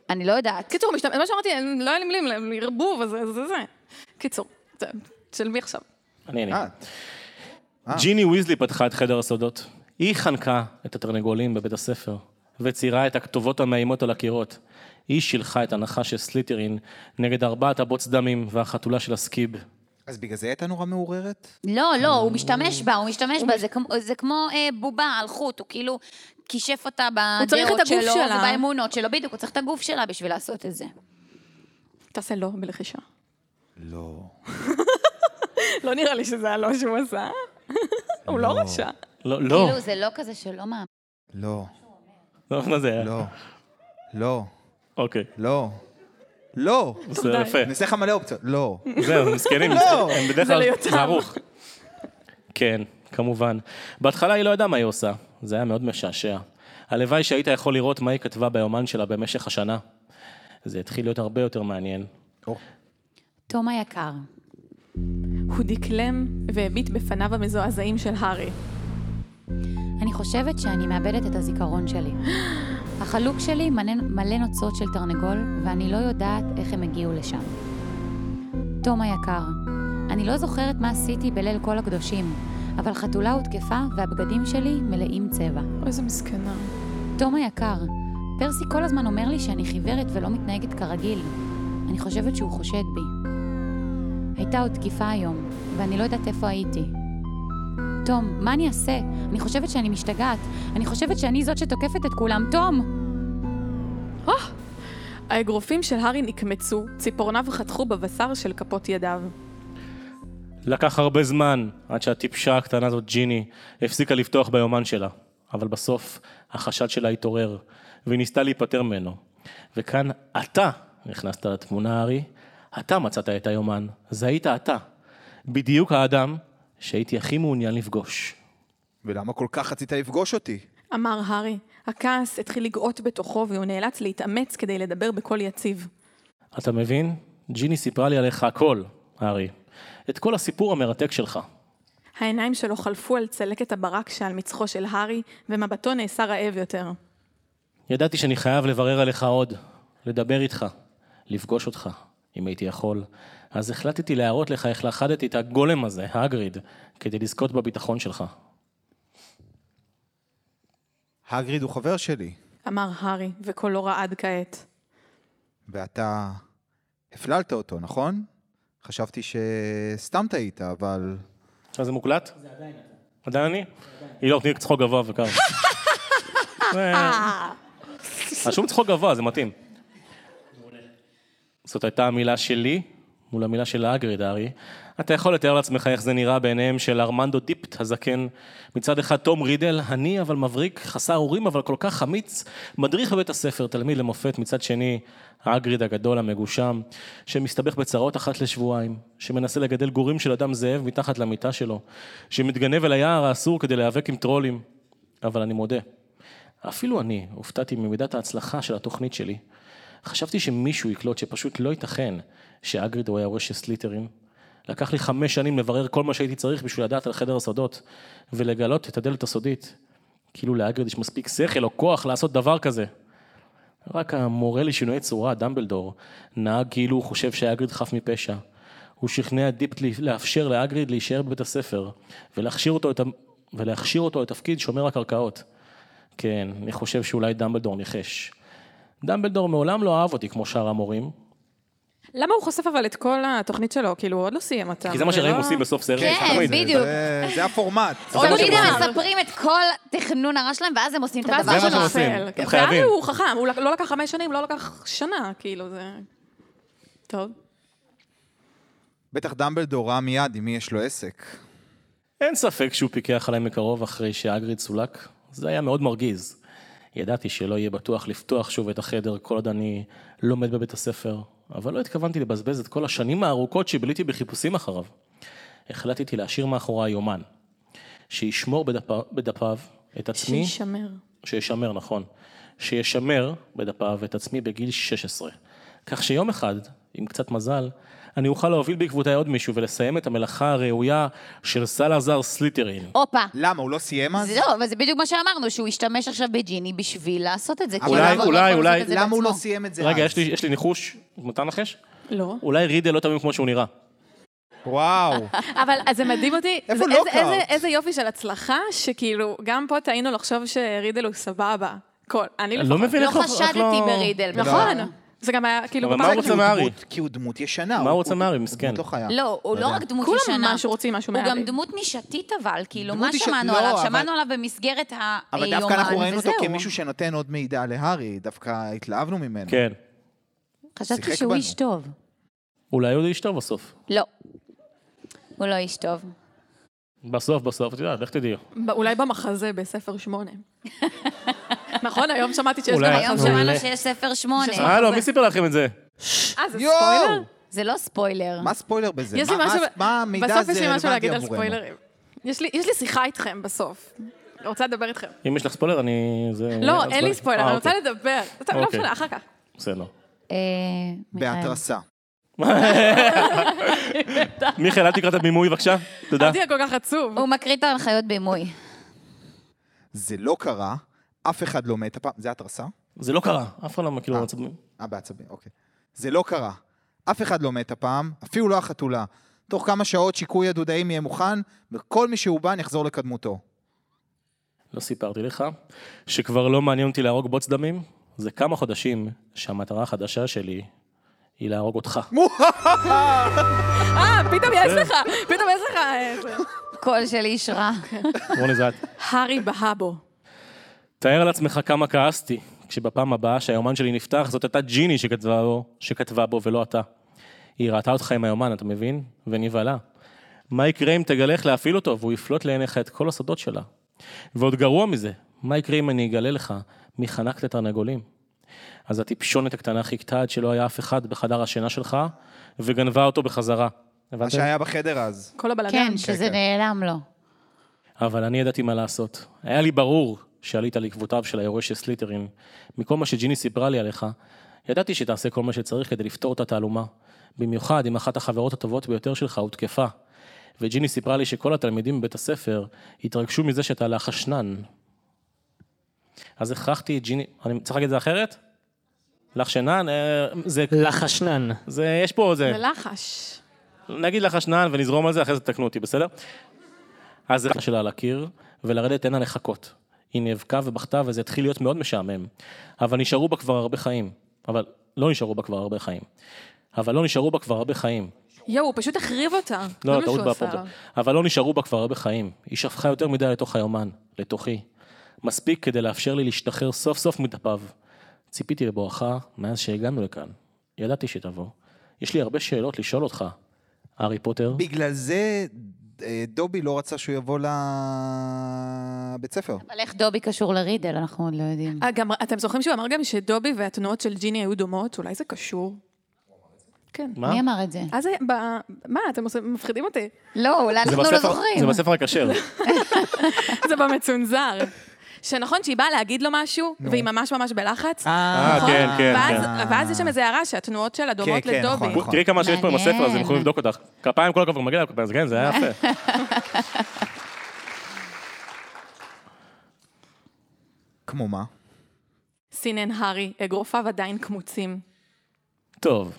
C: אני לא יודעת.
B: קיצור, משת... מה שאמרתי, לא היה לי מילים, ערבוב, אז זה זה זה. קיצור, זה- של מי עכשיו?
A: אני, אני.
E: אה,
A: ג'יני ויזלי פתחה את חדר הסודות. היא חנקה את התרנגולים בבית הספר, וציירה את הכתובות המאיימות על הקירות. היא שילחה את הנחש של סליטרין נגד ארבעת הבוץ דמים והחתולה של הסקיב.
E: אז בגלל זה הייתה נורא מעוררת?
C: לא, לא, הוא משתמש בה, הוא משתמש בה, זה כמו- זה כמו אה, בובה על חוט, הוא כאילו כישף אותה
B: צריך את
C: בדעות
B: הגוף
C: שלו
B: שלה.
C: ובאמונות שלו, בדיוק, הוא צריך את הגוף שלה בשביל לעשות את זה.
B: תעשה לא בלחישה.
E: לא.
B: לא נראה לי שזה הלא שהוא עשה. *laughs* הוא לא רשע.
A: לא, לא.
C: כאילו, זה לא כזה שלא מאמין.
E: לא.
A: *laughs*
B: כאילו
A: לא, מה זה היה?
E: לא. לא.
A: אוקיי.
E: לא. לא.
A: בסדר,
B: די.
E: *laughs*
A: יפה.
E: אני אעשה לך מלא אופציות. לא.
A: זהו, הם מסכנים,
E: לא.
A: הם בדרך
B: זה
A: כלל
B: ליותם.
A: זה ערוך. כן, כמובן. בהתחלה היא לא ידעה מה היא עושה, זה היה מאוד משעשע. הלוואי שהיית יכול לראות מה היא כתבה ביומן שלה במשך השנה. זה התחיל להיות הרבה יותר מעניין.
C: תום היקר,
B: הוא דקלם והביט בפניו המזועזעים של הארי.
C: אני חושבת שאני מאבדת את הזיכרון שלי. *gasps* החלוק שלי מלא, מלא נוצות של תרנגול, ואני לא יודעת איך הם הגיעו לשם. תום היקר, אני לא זוכרת מה עשיתי בליל כל הקדושים, אבל חתולה הותקפה והבגדים שלי מלאים צבע.
B: איזה מסכנה.
C: תום היקר, פרסי כל הזמן אומר לי שאני חיוורת ולא מתנהגת כרגיל. אני חושבת שהוא חושד בי. הייתה עוד תקיפה היום, ואני לא יודעת איפה הייתי. תום, מה אני אעשה? אני חושבת שאני משתגעת. אני חושבת שאני זאת שתוקפת את כולם. תום!
B: האגרופים של הארי נקמצו, ציפורניו חתכו בבשר של כפות ידיו.
A: לקח הרבה זמן עד שהטיפשה הקטנה הזאת, ג'יני, הפסיקה לפתוח ביומן שלה. אבל בסוף החשד שלה התעורר, והיא ניסתה להיפטר ממנו. וכאן אתה נכנסת לתמונה, ארי. אתה מצאת את היומן, זה היית אתה. בדיוק האדם שהייתי הכי מעוניין לפגוש.
E: ולמה כל כך רצית לפגוש אותי?
B: אמר הארי. הכעס התחיל לגאות בתוכו והוא נאלץ להתאמץ כדי לדבר בקול יציב.
A: אתה מבין? ג'יני סיפרה לי עליך הכל, הארי. את כל הסיפור המרתק שלך.
B: העיניים שלו חלפו על צלקת הברק שעל מצחו של הארי, ומבטו נעשה רעב יותר.
A: ידעתי שאני חייב לברר עליך עוד, לדבר איתך, לפגוש אותך, אם הייתי יכול. אז החלטתי להראות לך איך לכדתי את הגולם הזה, האגריד, כדי לזכות בביטחון שלך.
E: הגריד הוא חבר שלי,
B: אמר הארי, וקולו רעד כעת.
E: ואתה הפללת אותו, נכון? חשבתי שסתם טעית, אבל...
A: עכשיו זה מוקלט? זה עדיין אתה. עדיין אני? היא לא, תני צחוק גבוה *laughs* וקר. זה- אז שום צחוק גבוה, זה מתאים. זאת הייתה המילה שלי מול המילה של האגריד, ארי. אתה יכול לתאר לעצמך איך זה נראה בעיניהם של ארמנדו דיפט הזקן. מצד אחד תום רידל, עני אבל מבריק, חסר הורים אבל כל כך חמיץ, מדריך בבית הספר, תלמיד למופת. מצד שני, האגריד הגדול המגושם, שמסתבך בצרות אחת לשבועיים, שמנסה לגדל גורים של אדם זאב מתחת למיטה שלו, שמתגנב אל היער האסור כדי להיאבק עם טרולים. אבל אני מודה, אפילו אני הופתעתי ממידת ההצלחה של התוכנית שלי. חשבתי שמישהו יקלוט שפשוט לא ייתכן שאגריד הוא היורש של סליטרים. לקח לי חמש שנים לברר כל מה שהייתי צריך בשביל לדעת על חדר הסודות, ולגלות את הדלת הסודית. כאילו לאגריד יש מספיק שכל או כוח לעשות דבר כזה. רק המורה לשינויי צורה, דמבלדור, נהג כאילו הוא חושב שהאגריד חף מפשע. הוא שכנע את דיפט לאפשר לאגריד להישאר בבית הספר, ולהכשיר אותו, את ה... ולהכשיר אותו לתפקיד שומר הקרקעות. כן, אני חושב שאולי דמבלדור ניחש. דמבלדור מעולם לא אהב אותי כמו שאר המורים,
B: למה הוא חושף אבל את כל התוכנית שלו? כאילו, הוא עוד לא סיים אותה.
A: כי זה מה שראים עושים בסוף סרט.
G: כן,
A: תמיד.
G: בדיוק.
E: זה- זה הפורמט.
G: תמיד הם
B: שמותר.
G: מספרים את כל תכנון הרע שלהם, ואז הם עושים את
B: ואז כן.
G: הדבר
A: זה מה שהם
B: הוא
G: שלהם.
A: עושים,
B: נופל.
A: אתם
B: ואז
A: חייבים.
B: הוא חכם, הוא לא לקח חמש שנים, לא לקח שנה, כאילו, זה... טוב.
E: בטח דמבלדור ראה מיד עם מי יש לו עסק.
A: אין ספק שהוא פיקח עליי מקרוב אחרי שאגריד סולק. זה היה מאוד מרגיז. ידעתי שלא יהיה בטוח לפתוח שוב את החדר כל עוד אני לומד בבית הספר, אבל לא התכוונתי לבזבז את כל השנים הארוכות שביליתי בחיפושים אחריו. החלטתי להשאיר מאחורי יומן, שישמור בדפ... בדפיו את עצמי...
B: שיישמר.
A: שישמר, נכון. שישמר בדפיו את עצמי בגיל 16. כך שיום אחד, עם קצת מזל, אני אוכל להוביל בעקבותיי עוד מישהו ולסיים את המלאכה הראויה של סלאזר סליטרין.
G: הופה.
E: למה, הוא לא סיים אז?
G: זה לא, אבל זה בדיוק מה שאמרנו, שהוא השתמש עכשיו בג'יני בשביל לעשות את זה. כי
E: אולי-
G: הוא לא יכול
A: אולי-
G: לעשות
A: אולי-
G: את זה
E: למה הוא לא
G: בעצמו.
E: סיים את זה אז?
A: רגע, יש לי, יש לי ניחוש, מותר לנחש?
B: לא.
A: אולי רידל לא תמיד כמו שהוא נראה.
B: *laughs*
E: וואו.
B: אבל אז זה מדהים אותי.
E: איפה
A: לא
B: איזה-
E: לוקהרט?
B: איזה- איזה יופי של הצלחה, שכאילו, גם פה טעינו לחשוב שרידל הוא סבבה. כל, אני
A: אני לא
B: לפחות.
A: מבין
G: לא
A: איך איך
G: חשדתי ברידל.
B: נכון. זה גם היה, כאילו,
A: אבל
B: בפעם-
A: מה הוא רוצה מארי?
E: כי הוא דמות ישנה.
A: מה הוא רוצה מארי? מסכן.
E: דמות לא חיה.
G: לא, הוא לא
E: יודע.
G: רק דמות
B: כולם
G: ישנה.
B: משהו רוצים משהו
G: הוא
B: מהארי.
G: גם דמות נישתית אבל, כאילו,
E: דמות
G: מה
E: נישת-
G: שמענו
E: לא,
G: עליו?
E: אבל-
G: שמענו עליו במסגרת היומן,
E: אבל
B: אה,
G: וזהו.
E: דווקא אנחנו ראינו אותו כמישהו שנותן עוד מידע להארי, דווקא התלהבנו ממנו.
A: כן.
C: חשבתי
E: שיחק
C: שהוא
E: בנו.
C: איש טוב.
A: אולי הוא ישתו בסוף.
G: לא. הוא לא איש טוב.
A: בסוף, בסוף, את יודעת, איך תדעי?
B: ב- אולי במחזה בספר *laughs* שמונה. נכון, היום שמעתי שיש
A: אולי.
B: גם
G: היום
A: מעולה.
G: שמענו שיש ספר שמונה.
A: הלו, מי סיפר לכם את זה?
B: אה, זה
E: יואו!
B: ספוילר?
G: זה לא ספוילר.
E: מה ספוילר בזה?
B: יש לי
E: מה-
B: משהו...
E: מה- מה המידע הזה
B: בסוף יש לי
E: רלוונטי
B: משהו להגיד על
E: עבורנו?
B: ספוילרים. יש לי יש לי שיחה איתכם בסוף. אני רוצה לדבר איתכם.
A: אם יש לך ספוילר, אני... זה-
B: לא,
A: אוקיי, אז
B: אין לי
A: לא.
B: ספוילר,
A: אה,
B: אני רוצה
A: אוקיי.
B: לדבר. טוב, לא
A: אוקיי.
B: משנה, אחר כך. *laughs*
A: בסדר.
C: אה, מיכאל.
E: בהתרסה.
A: מיכאל, אל תקרא את הבימוי בבקשה. תודה. אוקיי.
B: אותי כל כך עצוב.
G: הוא מקריא את ההנחיות בימוי.
E: זה לא קרה, אף אחד לא מת הפעם. זה התרסה?
A: זה לא קרה, אף אחד לא מכיר
E: אה.
A: עצבים.
E: אה, בעצבים, אוקיי. זה לא קרה. אף אחד לא מת הפעם, אפילו לא החתולה. תוך כמה שעות שיקוי הדודאים יהיה מוכן, וכל מי שאובן יחזור לקדמותו.
A: לא סיפרתי לך, שכבר לא מעניין אותי להרוג בוץ דמים, זה כמה חודשים שהמטרה החדשה שלי היא להרוג אותך.
B: אה, פתאום יש
A: כן.
B: לך, פתאום יש לך אה, איזה...
G: קול של איש רע.
A: רוני זת,
B: הארי בהאבו.
A: תאר לעצמך כמה כעסתי, כשבפעם הבאה שהיומן שלי נפתח, זאת הייתה ג'יני שכתבה בו, שכתבה בו ולא אתה. היא ראתה אותך עם היומן, אתה מבין? ונבהלה. מה יקרה אם תגלה איך להפעיל אותו, והוא יפלוט לעיניך את כל הסודות שלה? ועוד גרוע מזה, מה יקרה אם אני אגלה לך מי חנק את התרנגולים? אז הטיפשונת הקטנה חיכתה עד שלא היה אף אחד בחדר השינה שלך, וגנבה אותו בחזרה.
E: מה
A: הבנת?
E: שהיה בחדר אז.
B: כל הבלאגן.
C: כן, שזה
E: כן.
C: נעלם לו.
A: אבל אני ידעתי מה לעשות. היה לי ברור שעלית על עקבותיו של היורש של סליטרין. מכל מה שג'יני סיפרה לי עליך, ידעתי שתעשה כל מה שצריך כדי לפתור את התעלומה. במיוחד אם אחת החברות הטובות ביותר שלך הותקפה. וג'יני סיפרה לי שכל התלמידים בבית הספר התרגשו מזה שאתה עלה חשנן. אז הכרחתי את ג'יני... אני צריך להגיד את זה אחרת? לחשנן? אה, זה...
F: לחשנן.
A: זה... יש פה...
B: לא
A: זה...
B: בלחש.
A: נגיד לך שנען ונזרום על זה, אחרי זה תקנו אותי, בסדר? אז זה שלה על הקיר, ולרדת אין לה לחכות. היא נאבקה ובכתה וזה התחיל להיות מאוד משעמם. אבל נשארו בה כבר הרבה חיים. אבל לא נשארו בה כבר הרבה חיים. אבל לא נשארו בה כבר הרבה חיים.
B: יואו, הוא פשוט החריב אותה. זה
A: לא,
B: מה
A: טעות
B: שהוא עשה
A: באפרופו.
B: לה.
A: אבל לא נשארו בה כבר הרבה חיים. היא שפכה יותר מדי לתוך היומן, לתוכי. מספיק כדי לאפשר לי להשתחרר סוף סוף מדפיו. ציפיתי לבואך מאז שהגענו לכאן. ידעתי שתבוא. יש לי הרבה שאלות לשאול אותך, הארי פוטר.
E: בגלל זה אה, דובי לא רצה שהוא יבוא לבית ספר.
C: אבל איך דובי קשור לרידל, אנחנו עוד לא יודעים.
B: אה, גם, אתם זוכרים שהוא אמר גם שדובי והתנועות של ג'יני היו דומות? אולי זה קשור? כן.
A: מה?
C: מי אמר את זה?
B: אז היה- ב- מה, אתם עושים- מפחידים אותי.
G: לא, אולי
A: זה
G: אנחנו לא
A: בספר- זה
G: זוכרים.
A: בספר הכשר.
B: נכון. זה במצונזר. שנכון שהיא באה להגיד לו משהו, והיא ממש ממש בלחץ.
F: אה,
B: נכון?
A: כן, כן,
B: ואז-
E: כן.
B: ואז יש שם איזו הערה שהתנועות שלה דומות
E: כן, נכון,
B: לדובי.
E: נכון.
A: תראי כמה שיש פה עם הספר הזה, הם
C: מעניין.
A: יכולים לבדוק אותך. כפיים כל הכבוד, מגיע להם כפיים, אז כן, זה היה
B: *laughs*
A: יפה.
E: כמו מה?
B: סינן הארי, אגרופיו עדיין קמוצים.
A: טוב,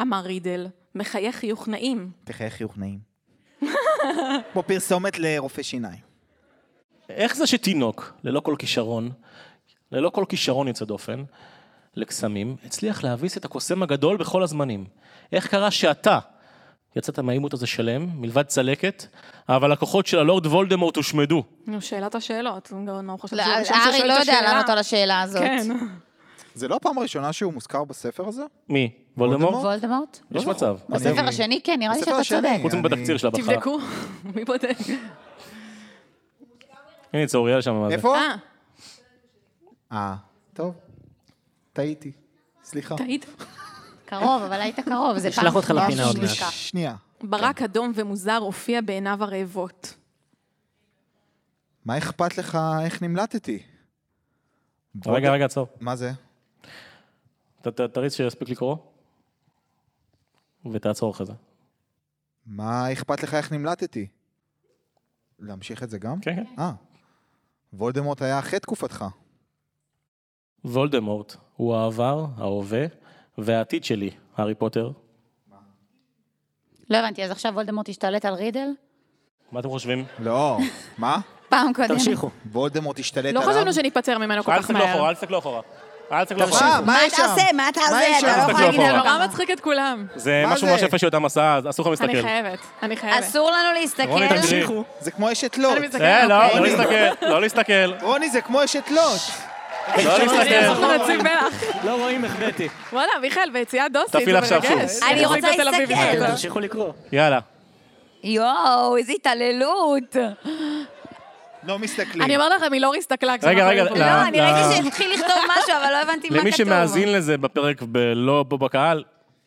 B: אמר רידל, מחייך חיוך נעים.
E: תחייך חיוך נעים. כמו פרסומת לרופא שיניים.
A: איך זה שתינוק, ללא כל כישרון, ללא כל כישרון יוצא דופן, לקסמים, הצליח להביס את הקוסם הגדול בכל הזמנים? איך קרה שאתה יצאת מהעימות הזה שלם, מלבד צלקת, אבל הכוחות של הלורד וולדמורט הושמדו?
B: נו, שאלת השאלות. הוא גם- הוא חושב
G: לא,
B: שהוא הראשון
G: הארי
B: ששואל
G: לא
B: את
G: יודע
B: השאלה.
G: לענות על השאלה הזאת.
C: *laughs*
B: כן.
E: זה לא הפעם הראשונה שהוא מוזכר בספר הזה?
A: מי? וולדמורט?
E: וולדמורט?
C: וולדמורט?
E: לא.
A: יש מצב.
C: בספר השני כן, נראה לי
E: בספר
C: שאתה
E: השני.
C: צודק.
A: חוץ
E: אני-
A: מבתקציר של הבחרה.
B: תבדקו. *laughs* מי בודק?
A: הנה, זה אוריאל שם. מה זה?
E: איפה?
B: אה,
E: אה, טוב. טעיתי. סליחה. אה,
B: תעיד.
C: קרוב, אבל היית קרוב, זה פעם...
F: אשלח אותך
C: פעם
F: לפינה עוד
C: שלישית.
F: מעט.
E: שנייה.
B: ברק אדום ומוזר הופיע בעיניו הרעבות.
E: מה אכפת לך איך נמלטתי?
A: רגע, רגע, עצור.
E: מה זה?
A: ת- ת- תריץ שיספיק לקרוא, ותעצור אחרי זה.
E: מה אכפת לך איך נמלטתי? להמשיך את זה גם?
A: כן, כן.
E: אה. וולדמורט היה אחרי תקופתך.
A: וולדמורט הוא העבר, ההווה והעתיד שלי, הארי פוטר.
C: לא הבנתי, אז עכשיו וולדמורט השתלט על רידל?
A: מה אתם חושבים?
E: לא. מה?
G: פעם קודמת.
E: וולדמורט השתלט
B: לא
E: עליו?
B: חשבנו שניפטר ממנו כל
A: אל
B: כך
A: תסתכלו אחורה,
B: מהר.
A: אל תסתכלו אחורה. אל תסתכלו אחורה.
E: אה, מה יש שם?
G: מה אתה
E: מה יש שם?
C: לא
A: תסתכלו
G: על
A: אחורה.
G: כמה.
B: נורא מצחיק את כולם.
A: זה
E: מה
A: משהו
E: זה?
A: ממש יפה שאותם עשה, אז אסור לך
B: אני
A: להסתכל.
B: חייבת. אני חייבת.
G: אסור לנו
A: רוני,
G: להסתכל.
A: תמשיכי.
E: כן, תמשיכו. זה כמו אשת לוט.
B: אני מסתכלת.
A: אה, לא, לא
E: אוקיי.
A: להסתכל, לא להסתכל,
E: רוני, זה כמו אשת לוט.
A: לא להסתכל.
B: אנחנו *laughs* נציב מלח.
F: לא רואים, החבאתי.
B: וואלה, מיכאל, ביציאת דוסית.
A: תפעיל
B: זה
A: עכשיו
B: מרגש.
A: שוב.
G: אני
B: איך זה
G: רוצה
B: בתל אביב
G: להסתכל.
B: בכלל?
F: תמשיכו לקרוא.
A: יאללה.
G: יואו, איזה התעללות.
E: לא מסתכלים.
B: אני אומרת לכם, היא לא הסתכלה כשאנחנו
A: רגע,
B: היו
A: רגע,
B: פה.
A: לא.
G: לא, אני ראיתי
A: לא.
G: שהתחיל לכתוב משהו, אבל לא הבנתי מה כתוב.
A: למי שמאזין לזה בפרק ולא פה בקהל,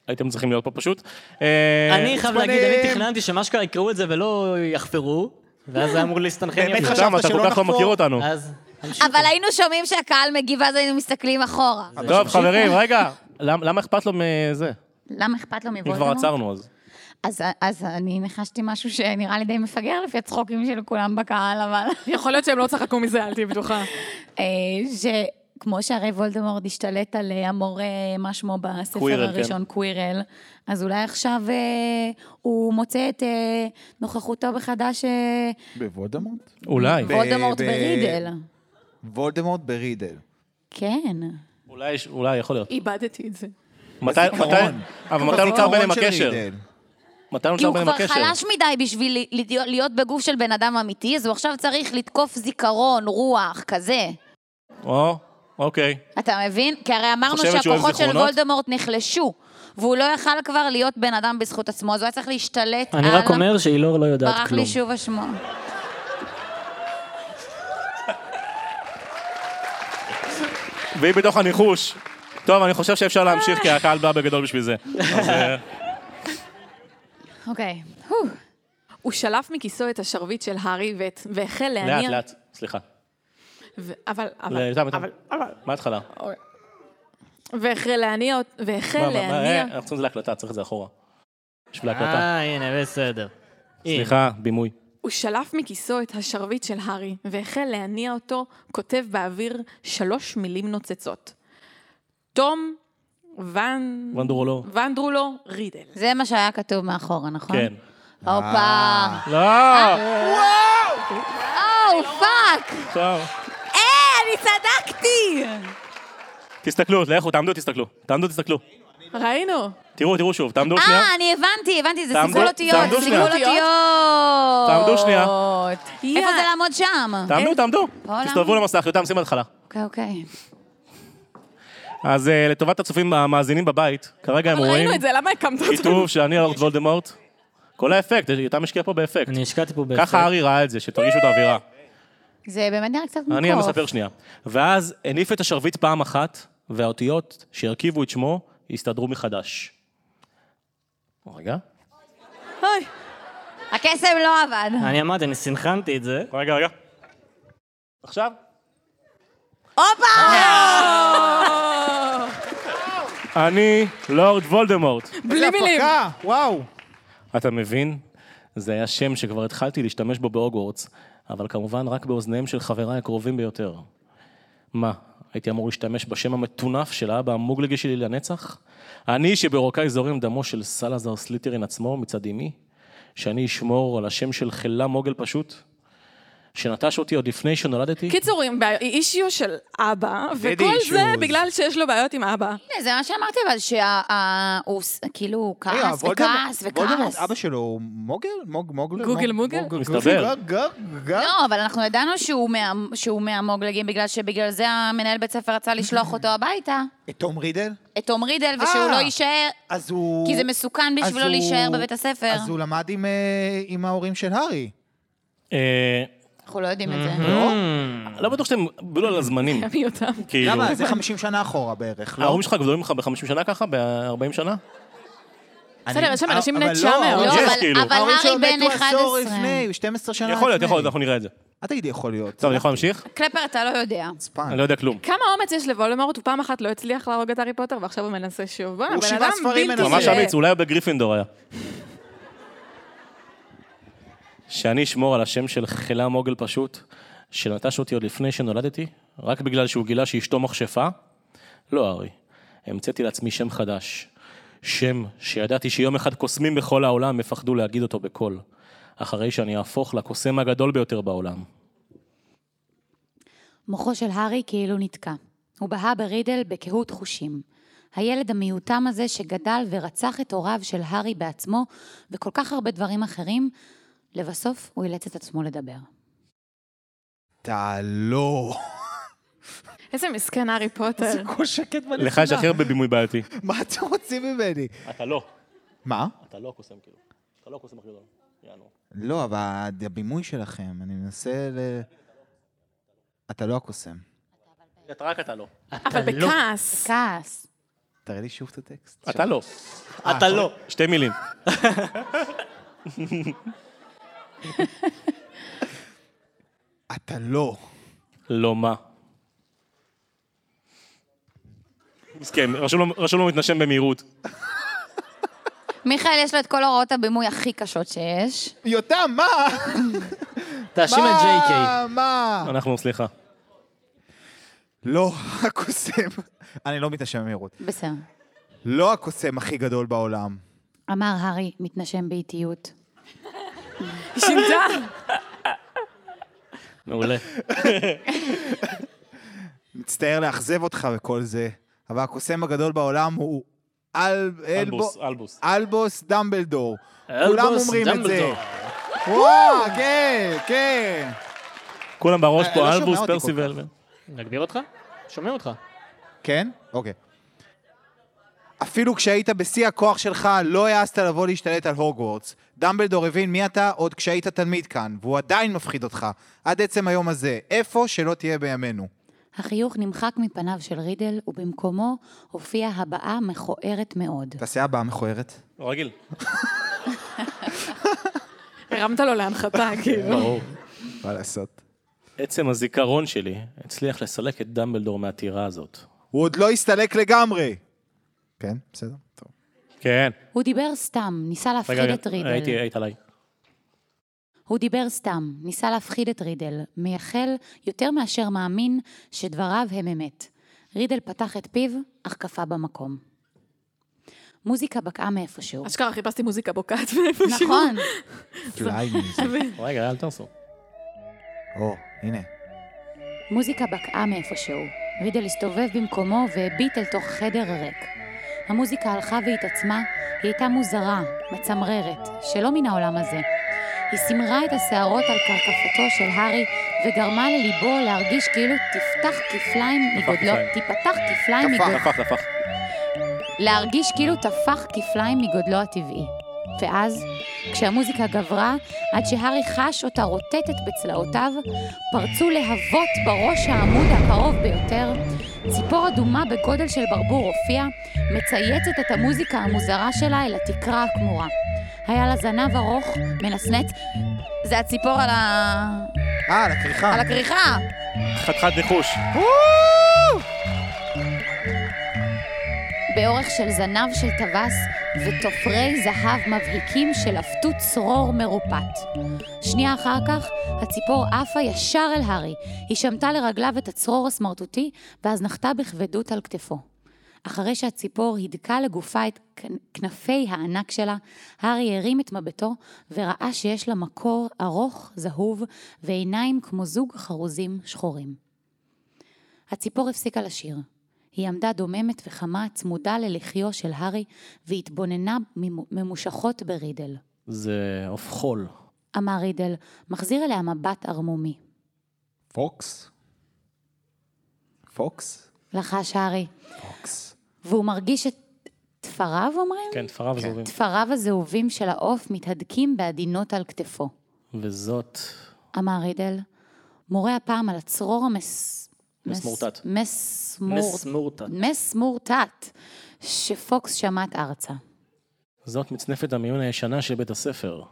A: הייתם צריכים להיות פה פשוט. אה,
F: אני
E: עצבנים.
F: חייב להגיד, אני תכננתי שמאשכרה יקראו את זה ולא יחפרו, ואז זה אמור להסתנכרן
E: באמת
F: יפה.
E: חשבת
A: סתם, אתה
E: שלא
A: כל כך לא
E: נחפור? אה,
A: מכיר אותנו.
F: אז... תמשיכו.
G: אבל היינו שומעים שהקהל מגיב, אז היינו מסתכלים אחורה.
A: טוב, חברים, רגע, למ- למה אכפת לו מזה?
C: למה אכפת לו
A: אם כבר
C: מוולדמורט?
A: עצרנו אז.
C: אז, אז אני נחשתי משהו שנראה לי די מפגר לפי הצחוקים של כולם בקהל, אבל...
B: יכול להיות שהם לא צחקו מזה, אל תהיי בטוחה.
C: אה,
H: כמו שהרי וולדמורד השתלט על אה, המורה, אה, מה שמו בספר
A: קווירל, כן.
H: הראשון, קווירל, אז אולי עכשיו אה, הוא מוצא את אה, נוכחותו מחדש אה,
E: בוולדמורט?
A: אולי.
E: ב-
H: וולדמורט
E: ב-
H: ברידל.
E: וולדמורט ברידל.
H: כן.
A: אולי, אולי, יכול להיות.
B: איבדתי את זה.
A: מתי, מתי, אבל מתי
E: לא
A: נוצר ביניהם הקשר? מתי
G: כי
A: נוצר
G: הוא
A: ביניהם
G: כבר
A: הקשר?
G: חלש מדי בשביל ל- להיות- להיות בגוף של בן אדם אמיתי, אז הוא עכשיו צריך לתקוף זיכרון, רוח, כזה.
A: או, אוקיי.
G: אתה מבין? כי הרי אמרנו
A: חושבת שהוא אוהב
G: שהכוחות של
A: זיכרונות?
G: וולדמורט נחלשו, והוא לא יכל כבר להיות בן אדם בזכות עצמו, אז הוא היה צריך להשתלט על...
F: אני רק אומר שאילור אה, לא יודעת
G: ברח
F: כלום.
G: לי שוב השמו.
A: והיא בתוך הניחוש. טוב, אני חושב שאפשר להמשיך, כי הקהל בא בגדול בשביל זה. אז, אה,
H: אוקיי.
B: הוא שלף מכיסו את השרביט של הארי ואת- והחל להניע...
A: לאט, לאט. סליחה.
B: ו- אבל, אבל,
A: לאט, לאט.
B: אבל, אבל...
A: מההתחלה.
B: והחל להניע... אות- והחל
A: מה, מה, מה, אה,
B: להניע...
A: אנחנו צריכים את זה להקלטה, צריך את זה אחורה. בשביל ההקלטה.
F: אה, הנה, בסדר. הנה.
A: סליחה, בימוי.
B: הוא שלף מכיסו את השרביט של הארי, והחל להניע אותו, כותב באוויר שלוש מילים נוצצות. תום ון...
A: ונדורולו.
G: אה?
B: ונדרולו רידל.
G: זה מה שהיה כתוב מאחורה, נכון?
A: כן.
G: הופה.
E: אה.
A: לא!
G: אה? או, פאק!
A: טוב.
G: אה, אני צדקתי!
A: תסתכלו, לכו, תעמדו, תסתכלו. תעמדו, תסתכלו.
B: ראינו.
A: תראו, תראו שוב, תעמדו שנייה.
G: אה, אני הבנתי, הבנתי, זה
A: תעמדו-
G: סיכול אותיות,
A: תעמדו
G: סיכול
A: שנייה.
G: אותיות.
A: תעמדו שנייה.
G: איפה
B: יא.
G: זה לעמוד שם?
B: אוקיי.
A: תעמדו, תעמדו.
G: למה?
A: תסתובבו למסך, יותם, שים בהתחלה.
G: אוקיי, אוקיי.
A: אז אה, לטובת הצופים המאזינים בבית, כרגע הם רואים
B: ראינו את זה, למה הקמת אותנו?
A: כיתוב שאני הלורד וולדמורט. כל האפקט, יותם השקיע פה באפקט.
F: אני השקעתי פה באפקט.
A: ככה ארי ראה את זה, שתרגישו את האווירה.
C: זה באמת נראה קצת מוכר.
A: אני מספר שנייה. ואז הניף את השרביט פעם אחת, והאותיות שהרכיבו את שמו הסתדרו מחדש. רגע.
B: אוי,
G: הקסם לא עבד.
F: אני אמרתי, אני סינכרנתי את זה.
A: רגע, רגע. עכשיו? הופה! אני לורד וולדמורט.
B: בלי מילים.
E: וואו.
A: אתה מבין? זה היה שם שכבר התחלתי להשתמש בו בהוגוורטס, אבל כמובן רק באוזניהם של חבריי הקרובים ביותר. מה, הייתי אמור להשתמש בשם המטונף של האבא המוגלגי שלי לנצח? אני שברוקאי זורם דמו של סלאזר סליטרין עצמו מצד אמי? שאני אשמור על השם של חילה מוגל פשוט? שנטש אותי עוד לפני שנולדתי?
E: כן.
B: קיצור, עם בעיה- אישיו של אבא, וכל זה
E: issues.
B: בגלל שיש לו בעיות עם אבא.
G: הנה, זה מה שאמרתי, אבל שהוא כאילו הוא
E: רגע,
G: כעס
E: וולדמורט-
G: וכעס
E: וולדמורט,
G: וכעס.
E: אבא שלו הוא מוגל? מוג, מוגל? אוקיי,
B: גוגל
E: מוג-
B: מוגל?
E: מוג-
A: מסתבר.
E: גוג- גוג- גוג.
G: לא, אבל אנחנו ידענו שהוא מה- שהוא מהמוגלגים, בגלל שבגלל זה המנהל בית ספר רצה לשלוח אותו הביתה,
E: את תום רידל?
G: את תום רידל, ושהוא
E: אה.
G: לא יישאר,
E: אז הוא...
G: כי זה מסוכן
E: אז
G: בשבילו
E: הוא-
G: להישאר בבית הספר.
E: אז הוא למד עם, אה, עם ההורים של הארי.
A: כאילו. אה,
G: אנחנו לא יודעים את זה.
A: לא בטוח שאתם בלו על הזמנים,
E: *laughs*
B: מי אותם?
A: כאילו.
E: למה? זה 50 שנה אחורה בערך, לא?
A: ההורים שלך גדולים ממך ב-50 שנה ככה? ב-40 שנה?
E: אה, אני-
B: בסדר, יש שם
E: אבל-
B: אנשים בני
E: אבל לא,
B: 900.
E: ההורים
G: לא,
A: יש,
G: אבל-
A: כאילו.
G: אבל
E: ההורים שלו
G: הארי בן
E: מתו עשור
G: 11.
E: לפני, 12 שנה לפני.
A: יכול להיות, יכול להיות, אנחנו נראה את זה.
E: אל תגידי יכול להיות.
A: טוב, אני יכול
E: אה.
A: להמשיך?
G: קלפר, אתה לא יודע.
E: חוצפן.
A: אני לא יודע כלום.
B: כמה אומץ יש לוולדמורט? הוא פעם אחת לא הצליח להרוג את הארי פוטר, ועכשיו הוא מנסה שוב. בוא,
E: הוא
B: הבן
E: שבעה
B: אדם
E: ספרים
B: בלתי
E: מנסה.
A: ממש
B: זה.
A: אמיץ, אולי הוא בגריפינדור היה. שאני אשמור על השם של חילה מוגל פשוט, שנטש אותי עוד לפני שנולדתי, רק בגלל שהוא גילה שאשתו מכשפה? לא, ארי. המצאתי לעצמי שם חדש. שם שידעתי שיום אחד קוסמים בכל העולם יפחדו להגיד אותו בקול. אחרי שאני אהפוך לקוסם הגדול ביותר בעולם.
C: מוחו של הארי כאילו נתקע. הוא בהה ברידל בקהות חושים. הילד המיותם הזה שגדל ורצח את הוריו של הארי בעצמו, וכל כך הרבה דברים אחרים, לבסוף הוא אילץ את עצמו לדבר.
E: אתה לא.
B: איזה מסכן הארי פוטר.
E: זה כל שקט בנסיעה.
A: לך יש הכי הרבה בימוי בעייתי.
E: מה אתם רוצים ממני?
A: אתה לא.
E: מה?
A: אתה לא הקוסם כאילו. אתה לא הקוסם הכי גדול. יענו.
E: לא, אבל הבימוי שלכם, אני מנסה ל... אתה לא הקוסם.
A: אתה רק אתה לא.
B: אבל בכעס.
C: כעס.
E: תראה לי שוב את הטקסט.
A: אתה לא.
F: אתה לא.
A: שתי מילים.
E: אתה לא.
A: לא מה. מסכן, כן, רשום לו- רשום לו מתנשם במהירות.
G: מיכאל, יש לו את כל הוראות הבימוי הכי קשות שיש.
E: יותם, מה? אה,
F: תאשים את ג'יי קיי.
E: מה?
A: אנחנו, סליחה.
E: לא הקוסם, *laughs* אני לא מתנשם במהירות,
C: בסדר.
E: לא הקוסם הכי גדול בעולם.
C: אמר הארי, מתנשם באיטיות.
B: *laughs* היא שינתה.
F: מעולה.
E: מצטער לאכזב אותך וכל זה, אבל הקוסם הגדול בעולם הוא אל...
A: אלבוס,
E: אלבו-
A: אלבוס.
E: אלבוס דמבלדור. כולם
F: אלבוס
E: אומרים את זה.
F: דמבלדור.
E: וואו, כן, כן.
A: כולם בראש
E: אה, לא
A: פה,
E: שומע
A: אלבוס,
E: אותי כל
A: פרסיבל.
F: נגביר אותך? שומעים אותך.
E: כן? אוקיי. אפילו כשהיית בשיא הכוח שלך, לא העזת לבוא להשתלט על הוגוורטס. דמבלדור הבין מי אתה עוד כשהיית תלמיד כאן, והוא עדיין מפחיד אותך, עד עצם היום הזה, איפה שלא תהיה בימינו.
C: החיוך נמחק מפניו של רידל, ובמקומו הופיעה הבעה מכוערת מאוד.
E: תעשה הבאה מכוערת.
A: לא רגיל.
B: הרמת לו להנחתה, כאילו.
A: ברור.
E: מה לעשות?
A: עצם הזיכרון שלי הצליח לסלק את דמבלדור מהטירה הזאת.
E: הוא עוד לא הסתלק לגמרי. כן, בסדר. *laughs* טוב.
A: כן.
C: הוא דיבר סתם, ניסה להפחיד
A: רגע,
C: את רידל.
A: הייתי, היית עליי.
C: הוא דיבר סתם, ניסה להפחיד את רידל, מייחל יותר מאשר מאמין שדבריו הם אמת. רידל פתח את פיו, אך קפא במקום. מוזיקה בקעה מאיפשהו.
B: אשכרה חיפשתי מוזיקה בוקעת מאיפשהו.
C: נכון,
E: פליי *laughs* מיוזיק.
B: *laughs*
A: רגע, אל תעשו.
E: או, הנה.
C: מוזיקה בקעה מאיפשהו. רידל הסתובב במקומו והביט אל תוך חדר ריק. המוזיקה הלכה והתעצמה, היא הייתה מוזרה, מצמררת, שלא מן העולם הזה. היא סימרה את השערות על קרקפתו של הארי וגרמה לליבו להרגיש כאילו תפתח כפליים מגודלו,
A: כפליים.
C: תיפתח כפליים
E: תפח.
C: מגודלו,
A: נפח, נפח.
C: להרגיש כאילו טפח כפליים מגודלו הטבעי. ואז, כשהמוזיקה גברה, עד שהארי חש אותה רוטטת בצלעותיו, פרצו להבות בראש העמוד הקרוב ביותר, ציפור אדומה בגודל של ברבור הופיעה, מצייצת את המוזיקה המוזרה שלה אל התקרה הכמורה. היה לה זנב ארוך, מנסנץ,
G: זה הציפור על ה...
E: אה, לכריכה.
G: על הכריכה.
A: חתיכת ניחוש.
C: באורך של זנב של טווס ותופרי זהב מבהיקים שלפתו צרור מרופט. שנייה אחר כך, הציפור עפה ישר אל הארי. היא שמטה לרגליו את הצרור הסמרטוטי, ואז נחתה בכבדות על כתפו. אחרי שהציפור הידקה לגופה את כנ- כנפי הענק שלה, הארי הרים את מבטו וראה שיש לה מקור ארוך, זהוב, ועיניים כמו זוג חרוזים שחורים. הציפור הפסיקה לשיר. היא עמדה דוממת וחמה צמודה ללחיו של הארי והתבוננה ממו- ממושכות ברידל.
A: זה עוף חול.
C: אמר רידל, מחזיר אליה מבט ערמומי.
E: פוקס? פוקס?
C: לחש הארי,
E: פוקס.
C: והוא מרגיש את תפריו, אומרים?
A: כן, תפריו זהובים.
C: תפריו הזהובים של העוף מתהדקים בעדינות על כתפו.
A: וזאת...
C: אמר רידל, מורה הפעם על הצרור המס...
A: מסמורטט.
C: מסמורטט.
F: מסמורטה.
C: מסמורטט, שפוקס שמט ארצה.
A: זאת מצנפת המיון הישנה של בית הספר.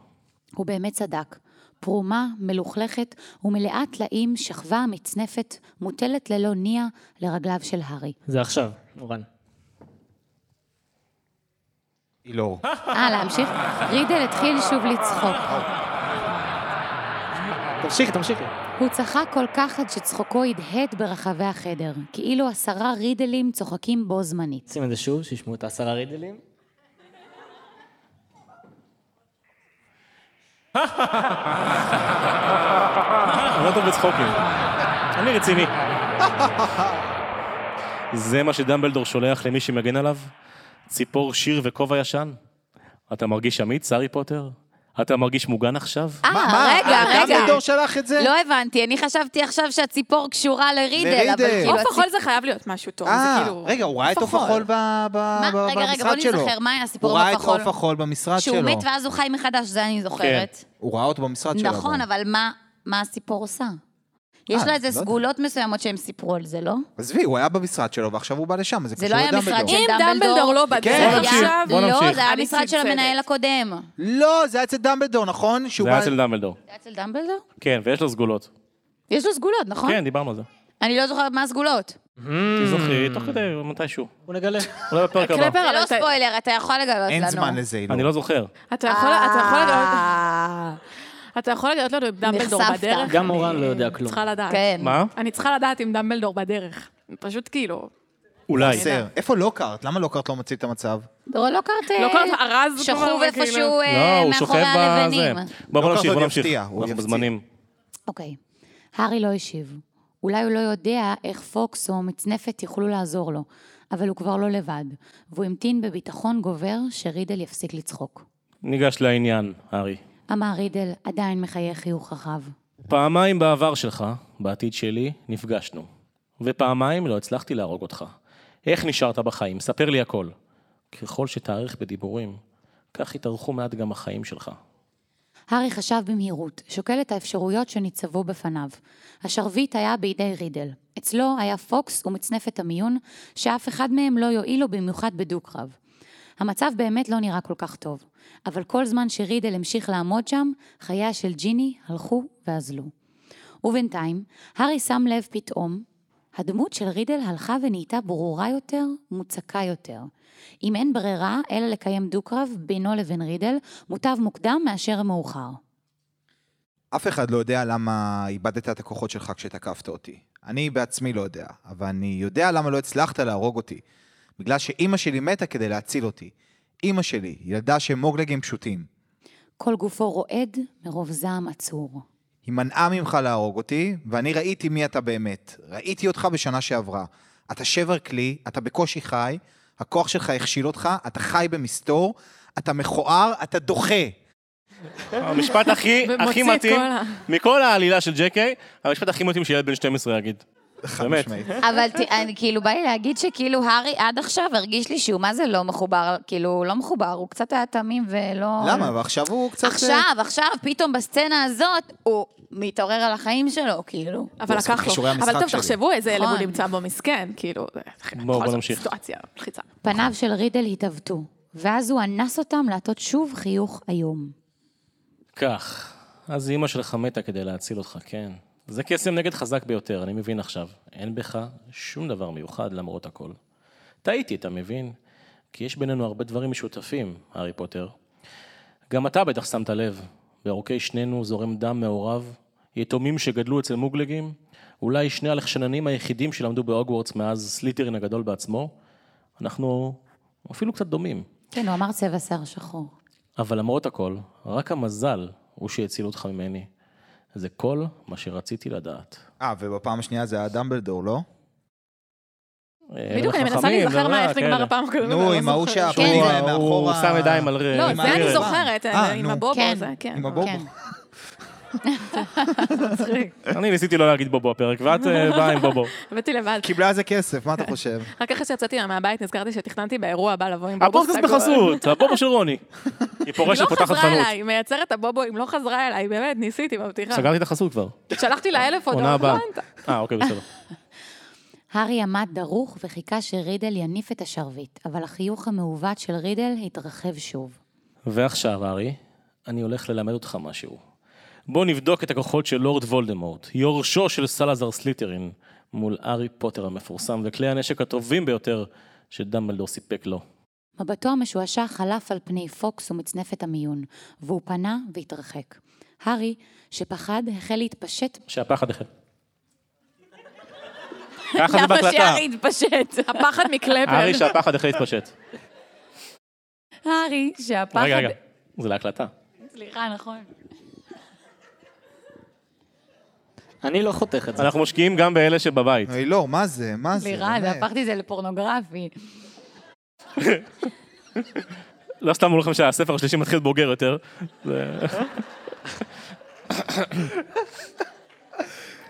C: הוא באמת צדק. פרומה, מלוכלכת ומלאה טלאים שכבה המצנפת מוטלת ללא ניע לרגליו של הארי.
F: זה עכשיו, אורן.
E: אילור.
C: אה, להמשיך? רידל התחיל שוב לצחוק.
F: תמשיכי, תמשיכי.
C: הוא צחק כל כך עד שצחוקו הדהד ברחבי החדר, כאילו עשרה רידלים צוחקים בו זמנית.
F: שים את זה שוב, שישמעו את העשרה רידלים.
A: אני לא טוב בצחוקים. אני רציני. זה מה שדמבלדור שולח למי שמגן עליו? ציפור שיר וכובע ישן? אתה מרגיש אמיץ, הארי פוטר? אתה מרגיש מוגן עכשיו?
G: אה, רגע, רגע.
E: דמבלדור שלח את זה?
G: לא הבנתי, אני חשבתי עכשיו שהציפור קשורה לרידל, אבל
E: לרידל.
G: כאילו...
B: עוף החול
G: הציפ-
B: זה חייב להיות משהו טוב, זה
E: אה,
B: כאילו...
E: רגע, הוא ראה את
B: עוף
E: עוף החול ב- ב-
G: מה?
E: ב-
G: רגע, רגע,
E: במשרד
G: בוא
E: שלו.
G: נזכר, מה היה הסיפור
E: הוא ראה
G: עם
E: את
G: עוף החול?
E: עוף החול במשרד שלו.
G: שהוא מת ואז הוא חי מחדש, זה אני זוכרת.
E: הוא ראה אותו במשרד שלו.
G: נכון,
E: אבל.
G: אבל מה- מה הציפור עושה? יש
E: אה,
G: לה
E: לא
G: איזה
E: יודע.
G: סגולות מסוימות שהם סיפרו על זה, לא?
E: עזבי, הוא היה במשרד שלו ועכשיו הוא בא לשם, זה
G: זה
E: קשור
G: לא היה
E: לדמבלדור.
G: משרד של
B: אם דמבלדור
G: דמבלדור
B: לא בא,
E: כן,
B: זה
E: בוא
G: היה-
A: נמשיך, בוא
G: לא,
A: נמשיך.
G: זה היה
B: אני
G: המשרד של
B: צלצלת.
G: המנהל הקודם.
E: לא, זה היה אצל דמבלדור, נכון? שהוא
A: זה היה
E: בא...
A: אצל דמבלדור.
G: זה היה אצל דמבלדור?
A: כן, ויש לו סגולות.
G: יש לו סגולות, נכון?
A: כן, דיברנו על זה.
G: אני לא זוכרת מה הסגולות.
A: תזכרי, תוך כדי, מתישהו.
F: הוא נגלה.
A: אולי בפרק הבא.
G: זה
B: אבל
G: לא
B: אתה-
G: ספוילר, אתה יכול לגלות לנו.
E: אין זמן לזה, אילור.
A: אני לא זוכר.
B: אתה יכול אתה יכול לגלות...
G: אה,
B: אתה יכול לגלות לנו אם דמבלדור
G: נחשפת.
B: בדרך?
F: גם
B: אני-
F: אורן לא יודע כלום.
B: צריכה לדעת.
G: כן.
A: מה?
B: אני צריכה לדעת אם דמבלדור בדרך. פשוט כאילו,
A: אולי.
E: בסדר. איפה לוקארט? למה לוקארט לא מציל את המצב?
C: דורון לוקארט אה,
B: לוקארט ארז כבר,
G: לא שכוב
B: וכאילו-
G: איפשהו אה,
A: לא, הוא
G: מאחורי
A: שוכב בזה.
G: הלבנים.
A: בוא בוא
E: לא
A: נמשיך,
E: ככה
A: בוא
E: זה
A: נמשיך.
E: יפתיע, הוא
A: אנחנו
E: יפציע.
A: בזמנים.
C: אוקיי. הארי לא השיב. אולי הוא לא יודע איך פוקס או מצנפת יוכלו לעזור לו, אבל הוא כבר לא לבד, והוא המתין בביטחון גובר שרידל יפסיק לצחוק.
A: ניגש לעניין, הארי.
C: אמר רידל, עדיין מחייך חיוך רחב.
A: פעמיים בעבר שלך, בעתיד שלי, נפגשנו. ופעמיים לא הצלחתי להרוג אותך. איך נשארת בחיים? ספר לי הכל. ככל שתאריך בדיבורים, כך יתארכו מעט גם החיים שלך.
C: הארי חשב במהירות, שוקל את האפשרויות שניצבו בפניו. השרביט היה בידי רידל. אצלו היה פוקס ומצנפת המיון, שאף אחד מהם לא יועיל לו במיוחד בדו-קרב. המצב באמת לא נראה כל כך טוב, אבל כל זמן שרידל המשיך לעמוד שם, חייה של ג'יני הלכו ואזלו. ובינתיים, הארי שם לב פתאום, הדמות של רידל הלכה ונהייתה ברורה יותר, מוצקה יותר. אם אין ברירה, אלא לקיים דו-קרב בינו לבין רידל, מוטב מוקדם מאשר מאוחר.
E: אף אחד לא יודע למה איבדת את הכוחות שלך כשתקפת אותי. אני בעצמי לא יודע, אבל אני יודע למה לא הצלחת להרוג אותי. בגלל שאימא שלי מתה כדי להציל אותי. אימא שלי, ילדה שמוגלגים פשוטים.
C: כל גופו רועד מרוב זעם עצור.
E: היא מנעה ממך להרוג אותי, ואני ראיתי מי אתה באמת. ראיתי אותך בשנה שעברה. אתה שבר כלי, אתה בקושי חי, הכוח שלך הכשיל אותך, אתה חי במסתור, אתה מכוער, אתה דוחה.
A: המשפט הכי, הכי
B: ומוציא את
A: מתאים,
B: כל ה...
A: מכל העלילה של ג'קי, המשפט הכי מתאים שילד בן 12 יגיד. באמת.
E: משמעית.
G: אבל ת- אני כאילו, בא לי להגיד שכאילו, הארי עד עכשיו הרגיש לי שהוא מה זה לא מחובר, כאילו, הוא לא מחובר, הוא קצת היה תמים ולא...
E: למה? ועכשיו הוא קצת...
G: עכשיו, עכשיו, פתאום בסצנה הזאת, הוא מתעורר על החיים שלו, כאילו.
B: אבל
E: עושים
B: לקח לו,
E: כישורי המשחק
B: אבל טוב,
E: שלי.
B: תחשבו איזה אלם הוא
G: נכון.
B: נמצא בו מסכן, כאילו, זה-
A: בוא
B: בכל זאת,
A: נמשיך.
B: סיטואציה מלחיצה.
C: פניו של רידל התעוותו, ואז הוא אנס אותם לעטות שוב חיוך איום.
A: כך, אז אימא שלך מתה כדי להציל אותך, כן. זה קסם נגד חזק ביותר, אני מבין עכשיו. אין בך שום דבר מיוחד למרות הכל. טעיתי, אתה מבין? כי יש בינינו הרבה דברים משותפים, הארי פוטר. גם אתה בטח שמת לב, בעורקי שנינו זורם דם מעורב, יתומים שגדלו אצל מוגלגים, אולי שני הלחשננים היחידים שלמדו בהוגוורטס מאז סליטרין הגדול בעצמו. אנחנו אפילו קצת דומים.
C: כן, הוא אמר צבע שיער שחור.
A: אבל למרות הכל, רק המזל הוא שהציל אותך ממני. זה כל מה שרציתי לדעת.
E: אה, ובפעם השנייה זה היה דמבלדור, לא?
A: אה,
B: בדיוק, אני
A: לא
B: מנסה להיזכר מה איך נגמר הפעם הקודמת. אני
E: נו,
B: לא
E: עם ההוא
B: זוכרת.
E: שהפנים
G: כן.
E: להם מאחורה.
A: הוא שם ידיים על...
B: לא,
A: עם
B: זה
E: ה-
B: אני
A: הרגל.
B: זוכרת,
E: אה,
B: עם
E: נו.
B: הבובו
C: כן.
B: הזה, כן.
E: עם הבובו.
C: כן.
A: אני ניסיתי לא להגיד בובו הפרק, ואת אה, באה עם בובו.
B: הבאתי לבד.
E: קיבלה על זה כסף, מה אתה *laughs* חושב?
B: רק אחרי שיצאתי מהבית נזכרתי שתכננתי באירוע הבא לבוא עם בובו
A: *laughs* הפודקאסט בחסות, הבובו של
B: *laughs*
A: רוני. היא
B: היא
A: פורשת,
B: לא
A: פותחת
B: חזרה
A: חנות.
B: אליי, מייצרת הבובו, אם לא חזרה אליי, באמת, ניסיתי מבטיחה.
A: סגרתי את החסות כבר,
B: שלחתי לה אלף
A: עונה
B: הודעות, לא
A: הבאה.
B: ענתה.
A: אה, אוקיי, בסדר.
C: הארי עמד דרוך וחיכה שרידל יניף את השרביט, אבל החיוך המעוות של רידל התרחב שוב.
A: ועכשיו, ארי, אני הולך ללמד אותך משהו. בוא נבדוק את הכוחות של לורד וולדמורט, יורשו של סלאזר סליטרין, מול הארי פוטר המפורסם וכלי הנשק הטובים ביותר שדמבלדור סיפק לו.
C: מבטו המשועשע חלף על פני פוקס ומצנפת המיון, והוא פנה והתרחק. הארי, שפחד, החל להתפשט
A: שהפחד החל. ככה זה
G: למה
A: בהקלטה.
G: שהארי
E: *laughs*
G: התפשט?
B: הפחד מקלפר.
A: ארי, שהפחד החל להתפשט.
G: הארי, שהפחד...
A: רגע, רגע, זה להקלטה.
G: סליחה, נכון.
F: אני לא חותך את זה.
A: אנחנו משקיעים גם באלה שבבית.
E: אוי, לא, מה זה? מה זה?
G: לירן,
E: באמת.
G: והפכתי את זה לפורנוגרפי.
A: לא סתם אמרו לכם שהספר השלישי מתחיל בוגר יותר. זה-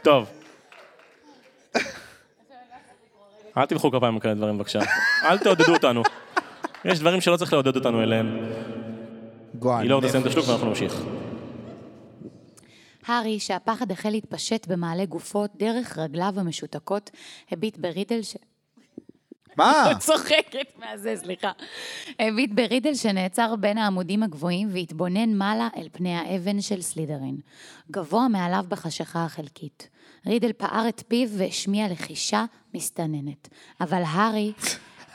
A: טוב. אל תמחאו כפיים על כאלה דברים בבקשה. אל תעודדו אותנו. יש דברים שלא צריך לעודד אותנו אליהם.
E: גועל
A: גילאור תסיים את
E: נפש.
A: השלוק ואנחנו נמשיך.
C: הארי, שהפחד החל להתפשט במעלה גופו דרך רגליו המשותקות, הביט ברידל ש...
E: מה?
G: צוחקת מהזה, סליחה.
C: הביט אה, ברידל שנעצר בין העמודים הגבוהים והתבונן מעלה אל פני האבן של סלידרין, גבוה מעליו בחשיכה החלקית. רידל פער את פיו והשמיע לחישה מסתננת, אבל הארי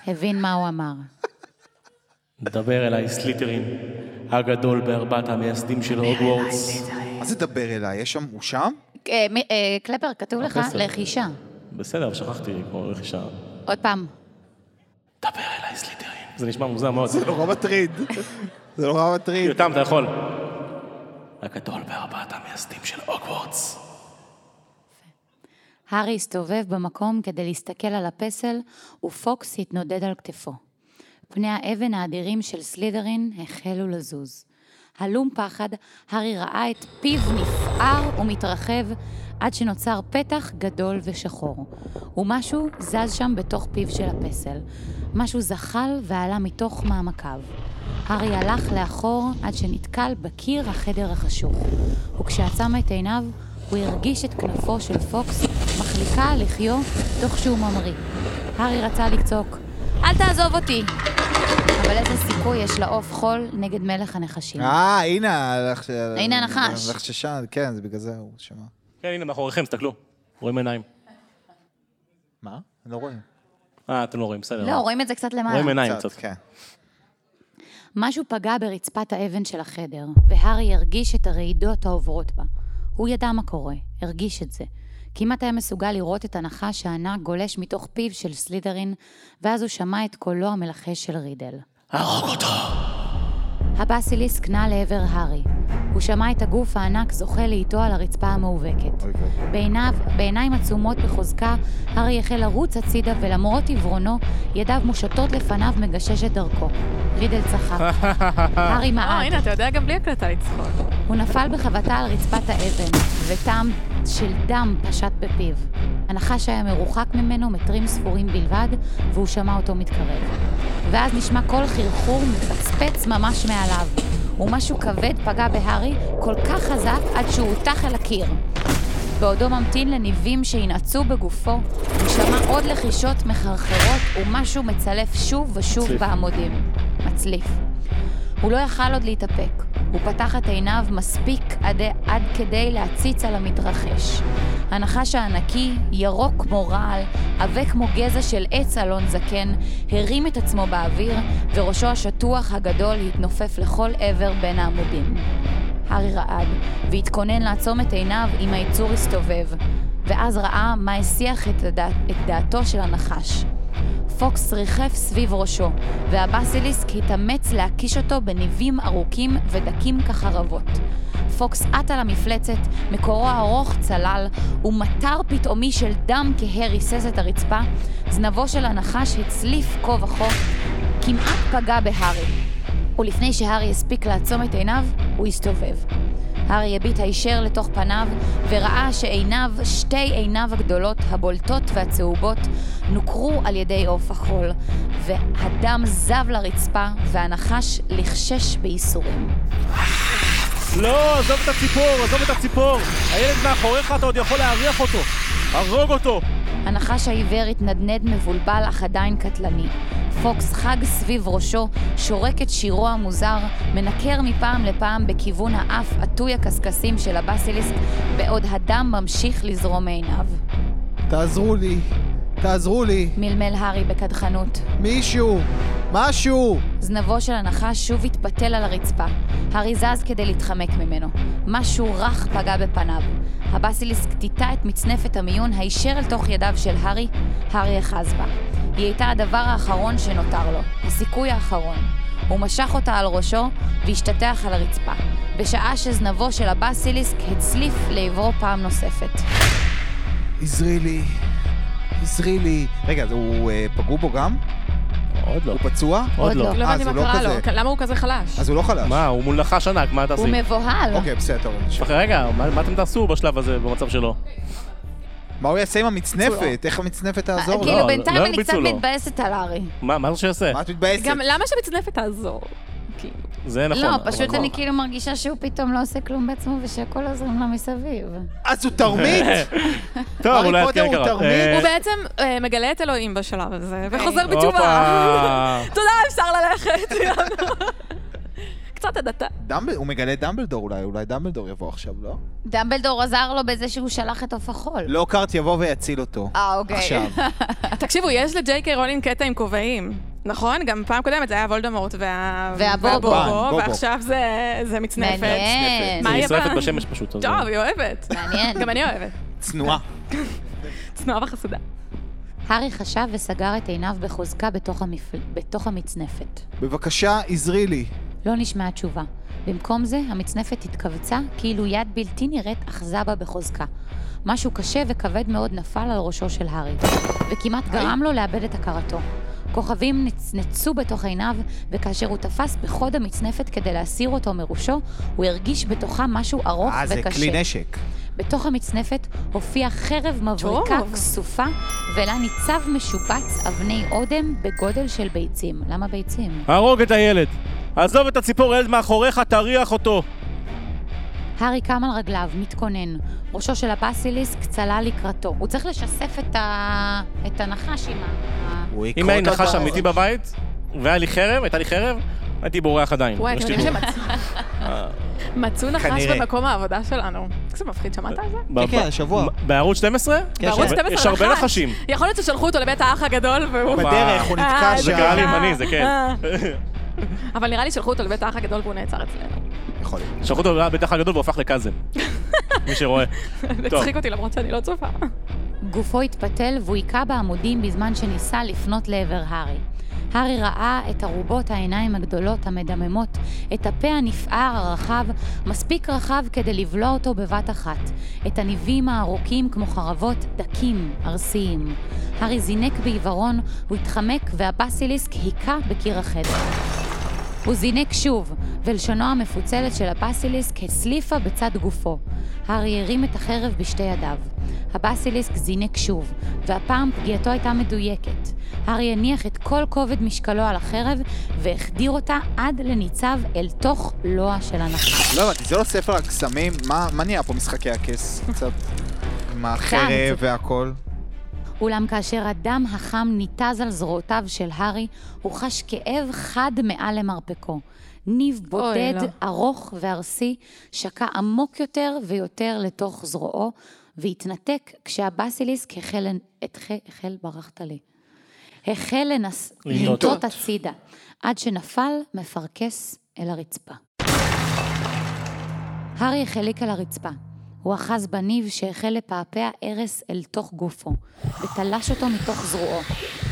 C: הבין מה הוא
G: *laughs*
C: אמר.
A: דבר אליי, סליטרין, הגדול בארבעת המייסדים של הוגוורטס.
E: מה זה דבר אליי? יש שם, הוא שם?
C: אה, מ- אה, קלפר, כתוב לך
A: הפסל.
C: לחישה.
A: בסדר, אבל שכחתי כמו רכישה.
C: עוד פעם.
A: דבר אליי, סליטרין. זה נשמע מוזר מאוד.
E: נורא מטריד. זה נורא
A: *laughs*
E: מטריד.
A: יותם, אתה יכול. הגדול בארבעת המייסדים של הוגוורטס.
C: הארי הסתובב במקום כדי להסתכל על הפסל, ופוקס התנודד על כתפו. פני האבן האדירים של סלידרין החלו לזוז. הלום פחד, הארי ראה את פיו נפער ומתרחב עד שנוצר פתח גדול ושחור. ומשהו זז שם בתוך פיו של הפסל. משהו זחל ועלה מתוך מעמקיו. הארי הלך לאחור עד שנתקל בקיר החדר החשוך. וכשעצם את עיניו, הוא הרגיש את כנפו של פוקס מחליקה על לחיו תוך שהוא ממריא. הארי רצה לצעוק, אל תעזוב אותי! אבל איזה סיכוי יש לעוף חול נגד מלך הנחשים.
E: אה, הנה הלחש...
C: הנה הנחש.
E: הלחששן, כן, זה בגלל זה הוא שמע.
A: כן, הנה, מאחוריכם, תסתכלו. רואים עיניים.
E: מה? אני לא רואה.
A: אה, אתם לא רואים, בסדר.
C: לא, רואים את זה קצת למעלה.
A: רואים עיניים קצת.
E: כן.
C: משהו פגע ברצפת האבן של החדר, והארי הרגיש את הרעידות העוברות בה. הוא ידע מה קורה, הרגיש את זה. כמעט היה מסוגל לראות את הנחש הענק גולש מתוך פיו של סלידרין, ואז הוא שמע את קולו המלחש של רידל.
A: הרוג אותו!
C: הבסיליסק נע לעבר הארי. הוא שמע את הגוף הענק זוכה לאיתו על הרצפה המאובקת. בעיניו, בעיניים עצומות בחוזקה, הארי החל לרוץ הצידה, ולמרות עיוורונו, ידיו מושטות לפניו מגשש את דרכו. רידל צחק. הארי
B: אה,
C: מעד.
B: הנה, אתה יודע גם בלי הקלטה לצחוק.
C: הוא נפל בחבטה על רצפת האבן, וטעם של דם פשט בפיו. הנחש היה מרוחק ממנו מטרים ספורים בלבד, והוא שמע אותו מתקרב. ואז נשמע קול חרחור מפצפץ ממש מעליו, ומשהו כבד פגע בהארי כל כך חזק עד שהוא הוטח אל הקיר. בעודו ממתין לניבים שינעצו בגופו, הוא שמע עוד לחישות מחרחרות ומשהו מצלף שוב ושוב
A: מצליף.
C: בעמודים. מצליף. הוא לא יכל עוד להתאפק. הוא פתח את עיניו מספיק עד, עד כדי להציץ על המתרחש. הנחש הענקי, ירוק כמו רעל, עבה כמו גזע של עץ אלון זקן, הרים את עצמו באוויר, וראשו השטוח הגדול התנופף לכל עבר בין העמודים. הארי רעד, והתכונן לעצום את עיניו אם היצור הסתובב, ואז ראה מה הסיח את, הדע... את דעתו של הנחש. פוקס ריחף סביב ראשו, והבסיליסק התאמץ להקיש אותו בניבים ארוכים ודקים כחרבות. פוקס עט על המפלצת, מקורו הארוך צלל, ומטר פתאומי של דם כהה ריסס את הרצפה, זנבו של הנחש הצליף כה וכה, כמעט פגע בהארי. ולפני שהארי הספיק לעצום את עיניו, הוא הסתובב. הארי הביט הישר לתוך פניו, וראה שעיניו, שתי עיניו הגדולות, הבולטות והצהובות, נוכרו על ידי עוף החול, והדם זב לרצפה, והנחש לחשש בייסורים.
A: לא, עזוב את הציפור, עזוב את הציפור! הילד מאחוריך, אתה עוד יכול להריח אותו! הרוג אותו!
C: הנחש העיוור התנדנד מבולבל אך עדיין קטלני. פוקס חג סביב ראשו, שורק את שירו המוזר, מנקר מפעם לפעם בכיוון האף עטוי הקשקשים של הבסיליסק, בעוד הדם ממשיך לזרום מעיניו.
E: תעזרו לי, תעזרו לי,
C: מלמל הארי בקדחנות.
E: מישהו, משהו.
C: זנבו של הנחש שוב התפתל על הרצפה. הארי זז כדי להתחמק ממנו. משהו רך פגע בפניו. הבסיליסק טיטה את מצנפת המיון הישר אל תוך ידיו של הארי, הארי אחז בה. היא הייתה הדבר האחרון שנותר לו, הסיכוי האחרון. הוא משך אותה על ראשו והשתטח על הרצפה, בשעה שזנבו של הבסיליסק הצליף לעברו פעם נוספת.
E: עזרי לי, עזרי לי. רגע, אז הוא אה, פגעו בו גם?
A: עוד לא.
E: הוא פצוע?
A: עוד
C: לא.
A: לא.
B: לא
E: אה,
B: הבנתי
E: אז
B: מה
E: הוא לא
B: קרה
E: כזה.
B: לו, למה הוא כזה חלש?
E: אז הוא לא חלש.
A: מה, הוא מול נחש ענק, מה
C: הוא
A: תעשי?
C: מבוהל.
E: אוקיי, בסדר, טוב, אני אשאר.
A: אחי, רגע, מה מה אתם תעשו בשלב הזה, במצב שלו?
E: מה הוא יעשה עם המצנפת? איך המצנפת תעזור לו?
A: לא,
C: כאילו בינתיים
A: לא
C: אני קצת
A: הרביצו לו.
C: מתבאסת על הארי.
A: מה, מה זה שיעשה?
E: מה את מתבאסת?
B: גם למה שמצנפת תעזור?
A: אה.
B: כי-
A: זה נכון.
C: לא,
A: אבל
C: פשוט
A: נכון.
C: אני כאילו מרגישה שהוא פתאום לא עושה כלום בעצמו ושהכול עוזרים לו מסביב.
E: אז הוא *laughs* תרמית?
A: טוב,
E: הארי
A: אולי את
E: פוטר
A: כן
E: הוא
A: קראת.
E: תרמית?
A: אה,
B: הוא בעצם אה, מגלה את אלוהים בשלב
E: אה.
B: הזה, וחוזר בתשובה. *laughs*
A: *laughs* הופה.
B: תודה, אפשר ללכת. *laughs* קצת הדתה.
E: דמבל- הוא מגלה את דמבלדור אולי, אולי דמבלדור יבוא עכשיו, לא?
C: דמבלדור עזר לו בזה שהוא שלח את עוף החול.
E: לא קארט יבוא ויציל אותו.
C: אה, אוקיי.
E: עכשיו.
C: *laughs*
B: תקשיבו, יש לג'יי קיי רולינג קטע עם כובעים. נכון? גם פעם קודמת זה היה וולדמורט וה...
C: והבובו.
E: בובו.
B: ועכשיו זה- זה מצנפת.
C: מעניין.
A: היא
B: מה יהיה
A: נשרפת
B: בה?
A: בשמש פשוט. אז-
B: טוב, היא אוהבת.
C: מעניין.
B: גם אני אוהבת.
E: צנועה.
B: נועה בחסודה.
C: הארי חשב וסגר את עיניו בחוזקה בתוך, המפל... בתוך המצנפת.
E: בבקשה, עזרי לי.
C: לא נשמעה תשובה. במקום זה, המצנפת התכווצה, כאילו יד בלתי נראית אחזה בה בחוזקה. משהו קשה וכבד מאוד נפל על ראשו של הארי, וכמעט גרם לו לאבד את הכרתו. כוכבים נצנצו בתוך עיניו, וכאשר הוא תפס בחוד המצנפת כדי להסיר אותו מראשו, הוא הרגיש בתוכה משהו ארוך
E: אה, זה
C: וקשה.
E: כלי נשק.
C: בתוך המצנפת הופיעה חרב מבריקה
B: טוב.
C: כסופה, ולה ניצב משובץ אבני אודם בגודל של ביצים. למה ביצים?
A: הרוג את הילד. עזוב את הציפור הילד מאחוריך, תריח אותו.
C: הארי קם על רגליו, מתכונן. ראשו של הבסיליסק צלל לקראתו. הוא צריך לשסף את, ה... את הנחש עם ה...
E: הוא יקרא
A: אם היה
E: אותו
A: נחש
E: בראש.
A: אמיתי בבית, והיה לי חרב, הייתה לי חרב, הייתי בורח עדיין.
B: וואי, אתם
A: שתדעו.
B: יודעים שמצאו מצאו נחש
E: אה, כנראה.
B: במקום העבודה שלנו. איזה מפחיד, שמעת על זה?
A: ב-
F: כן,
A: ב-
F: השבוע. כן,
A: ב- בערוץ 12?
B: בערוץ 12
A: יש הרבה
B: נחש.
A: נחשים.
B: יכול להיות ששלחו אותו לבית האח הגדול, והוא...
E: בדרך, הוא נתקע
B: אה,
A: זה קהל
E: שם.
B: קרה.
A: ימני, זה כן.
B: אה. אבל נראה לי שלחו אותו לבית האח הגדול והוא נעצר אצלנו.
E: יכול להיות.
A: שלחו אותו לבית האח הגדול והוא הפך לקאזם. מי שרואה.
B: זה
A: טוב.
B: הצחיק אותי למרות שאני לא צופה.
C: גופו התפתל והוא היכה בעמודים בזמן שניסה לפנות לעבר הארי. הארי ראה את ארובות העיניים הגדולות המדממות, את הפה הנפער הרחב, מספיק רחב כדי לבלוע אותו בבת אחת, את הניבים הארוכים כמו חרבות דקים, ארסיים. הארי זינק בעיוורון, הוא התחמק והבסיליסק היכה בקיר החדר. הוא זינק שוב, ולשונו המפוצלת של הבסיליסק הסליפה בצד גופו. הארי הרים את החרב בשתי ידיו. הבסיליסק זינק שוב, והפעם פגיעתו הייתה מדויקת. הארי הניח את כל כובד משקלו על החרב, והחדיר אותה עד לניצב אל תוך לוע של הנחש.
E: לא הבנתי, זה לא ספר הקסמים? מה מה נהיה פה משחקי
C: *laughs*
E: הכס? קצת... עם החרב
C: קצת.
E: והכל.
C: אולם כאשר הדם החם ניתז על זרועותיו של הארי, הוא חש כאב חד מעל למרפקו. ניב בודד,
B: לא.
C: ארוך וארסי, שקע עמוק יותר ויותר לתוך זרועו, והתנתק כשהבסיליסק החל, לנ- התח- החל ברחת לי. החל לנס...
A: לנטות.
C: לנטות הצידה, עד שנפל מפרכס אל הרצפה. הארי החליק על הרצפה. הוא אחז בניב שהחל לפעפע ארס אל תוך גופו, ותלש אותו מתוך זרועו.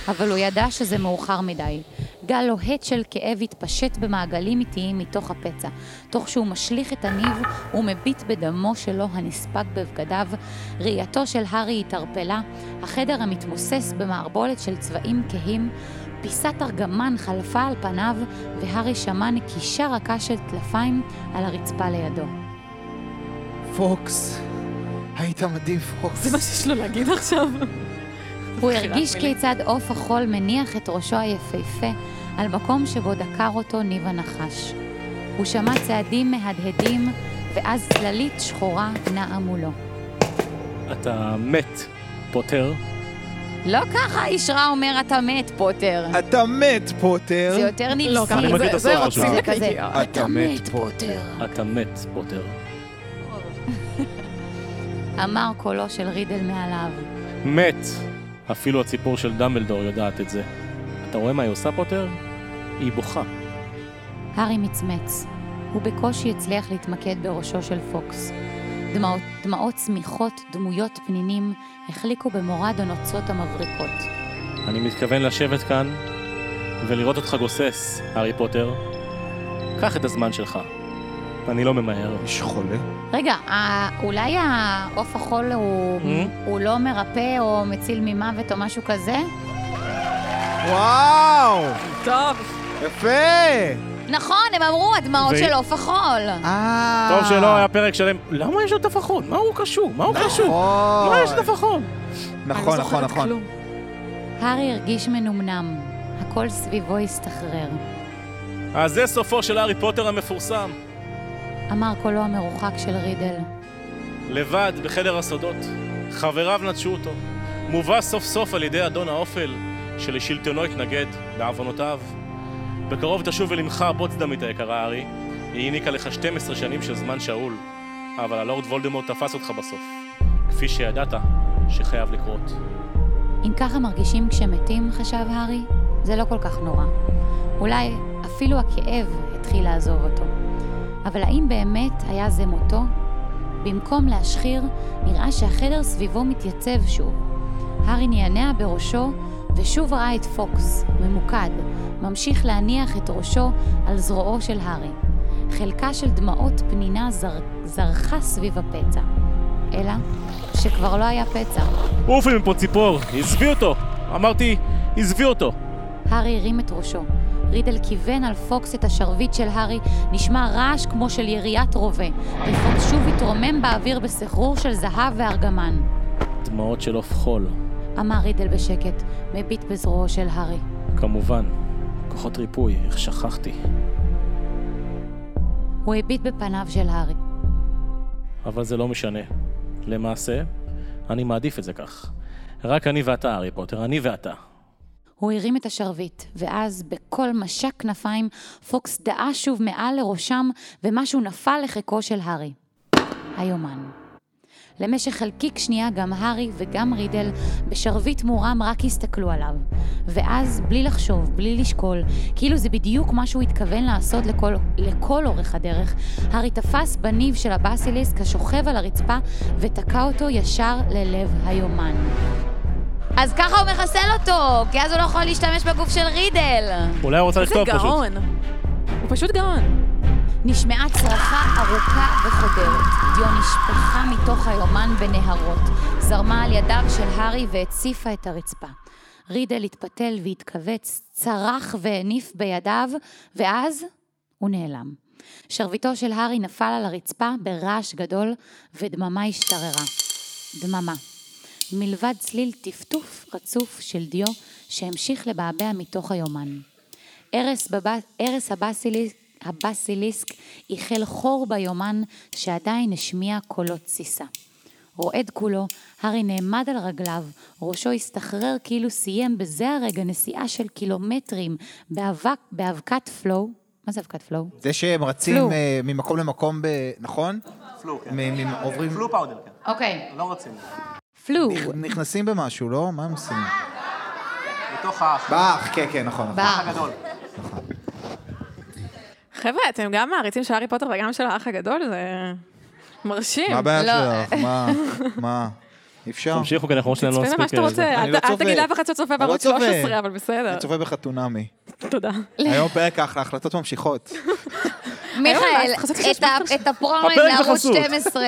C: אבל הוא ידע שזה מאוחר מדי. גל לוהט של כאב התפשט במעגלים איטיים מתוך הפצע, תוך שהוא משליך את הניב ומביט בדמו שלו הנספג בבגדיו. ראייתו של הארי התערפלה, החדר המתמוסס במערבולת של צבעים כהים, פיסת ארגמן חלפה על פניו, והארי שמע נקישה רכה של טלפיים על הרצפה לידו.
E: פוקס. היית מדהים, פוקס.
B: זה מה שיש לו להגיד עכשיו.
C: הוא
B: בחירת
C: הרגיש
B: מילים.
C: כיצד עוף החול מניח את ראשו היפהפה על מקום שבו דקר אותו ניב הנחש. הוא שמע צעדים מהדהדים, ואז צללית שחורה נעה מולו.
A: אתה מת, פוטר.
C: לא ככה איש רע אומר אתה מת, פוטר.
E: אתה מת, פוטר.
C: זה יותר
B: כן? לא, ככה
A: אני מכיר
C: נבזי.
A: את
B: זה- זה
A: הסוף
B: רוצים
A: שלך.
B: לקיים.
E: אתה מת, פוטר.
A: אתה מת, פוטר.
C: אמר קולו של רידל מעליו.
A: מת. אפילו הציפור של דמבלדור יודעת את זה. אתה רואה מה היא עושה, פוטר? היא בוכה.
C: הארי מצמץ. הוא בקושי הצליח להתמקד בראשו של פוקס. דמעות, דמעות סמיכות, דמויות פנינים, החליקו במורד הנוצות המבריקות.
A: אני מתכוון לשבת כאן ולראות אותך גוסס, הארי פוטר. קח את הזמן שלך. אני לא ממהר.
F: אה.
E: יש חולה?
C: רגע, אה, אולי העוף החול הוא,
A: Hmm?
C: הוא לא מרפא או מציל ממוות או משהו כזה?
E: וואו!
B: טוב,
E: יפה!
C: נכון, הם אמרו, הדמעות
A: ו-
C: של עוף החול.
E: אה...
A: טוב שלא היה פרק שלם. למה יש לו טפחון? מה הוא קשור? מה
F: נכון.
A: הוא קשור? מה לא, יש לו טפחון?
B: אני לא
E: נכון, נכון,
B: זוכרת
E: נכון.
B: כלום.
C: הארי הרגיש מנומנם. הכל סביבו הסתחרר.
A: אז אה, זה סופו של הארי פוטר המפורסם.
C: אמר קולו המרוחק של רידל.
A: לבד בחדר הסודות. חבריו נטשו אותו. מובא סוף סוף על ידי אדון האופל, שלשלטונו התנגד, בעוונותיו. בקרוב תשוב אל עמך הבוצדמית היקרה, הארי. היא העניקה לך 12 שנים של זמן שאול, אבל הלורד וולדמורט תפס אותך בסוף, כפי שידעת שחייב לקרות.
C: אם ככה מרגישים כשמתים, חשב הארי, זה לא כל כך נורא. אולי אפילו הכאב התחיל לעזוב אותו. אבל האם באמת היה זה מותו? במקום להשחיר, נראה שהחדר סביבו מתייצב שוב. הארי נענע בראשו, ושוב ראה את פוקס, ממוקד, ממשיך להניח את ראשו על זרועו של הארי. חלקה של דמעות פנינה זר... זרחה סביב הפצע. אלא שכבר לא היה פצע.
A: עופי מפה ציפור, עזבי אותו! אמרתי, עזבי אותו!
C: הארי הרים את ראשו. רידל כיוון על פוקס את השרביט של הארי, נשמע רעש כמו של יריית רובה, ופוקס שוב התרומם באוויר בסחרור של זהב וארגמן.
A: דמעות של עוף חול,
C: אמר רידל בשקט, מביט בזרועו של הארי.
A: כמובן. כוחות ריפוי, איך שכחתי.
C: הוא הביט בפניו של הארי.
A: אבל זה לא משנה. למעשה, אני מעדיף את זה כך. רק אני ואתה, הארי פוטר, אני ואתה.
C: הוא הרים את השרביט, ואז בכל משק כנפיים, פוקס דעה שוב מעל לראשם, ומשהו נפל לחיקו של הארי. היומן. למשך חלקיק שנייה גם הארי וגם רידל בשרביט מורם רק הסתכלו עליו. ואז, בלי לחשוב, בלי לשקול, כאילו זה בדיוק מה שהוא התכוון לעשות לכל, לכל אורך הדרך, הארי תפס בניב של הבסיליסק השוכב על הרצפה ותקע אותו ישר ללב היומן.
G: אז ככה הוא מחסל אותו, כי אז הוא לא יכול להשתמש בגוף של רידל.
A: אולי הוא רוצה
B: איזה
A: לכתוב פשוט.
B: גאון. הוא פשוט גאון.
C: נשמעה צרחה ארוכה וחודרת. דיו נשפכה מתוך היומן בנהרות, זרמה על ידיו של הארי והציפה את הרצפה. רידל התפתל והתכווץ, צרח והניף בידיו, ואז הוא נעלם. שרביטו של הארי נפל על הרצפה ברעש גדול, ודממה השתררה. דממה. מלבד צליל טפטוף רצוף של דיו שהמשיך לבעבע מתוך היומן. ערס, בב... ערס הבסיליסק, הבסיליסק איחל חור ביומן שעדיין השמיע קולות תסיסה. רועד כולו, הארי נעמד על רגליו, ראשו הסתחרר כאילו סיים בזה הרגע נסיעה של קילומטרים באבק, באבקת פלואו. מה זה אבקת פלואו?
E: זה שהם רצים
C: פלו.
E: אה, ממקום למקום, ב... נכון?
I: פלו, כן.
E: מ- מ- עוברים,
I: פלו פאודר, כן.
C: אוקיי.
I: לא רצים.
C: פלואו.
E: נכנסים במשהו, לא? מה הם עושים?
I: בתוך האח.
E: באח, כן, כן, נכון. נכון.
C: באח.
I: הגדול.
B: חבר'ה, אתם גם מעריצים של הארי פוטר וגם של האח הגדול? זה מרשים.
E: מה הבעיה
G: לא.
E: שלך? מה? מה? אי אפשר?
A: תמשיכו, כי אנחנו שלנו לא
B: תצפה במה שאתה רוצה,
E: אני לא
B: אל- אל
E: צופה.
B: תגיד לאף אחד שצופה
E: אני לא
B: בערוץ
E: צופה.
B: 13, אבל בסדר.
E: אני צופה בחתונמי.
B: תודה.
E: היום פרק אחלה, החלטות ממשיכות.
G: מיכאל,
B: היום, חשבתי
G: את ה- את הפרומואים
A: הפרק
G: לערוץ
A: בחסות.
G: 12.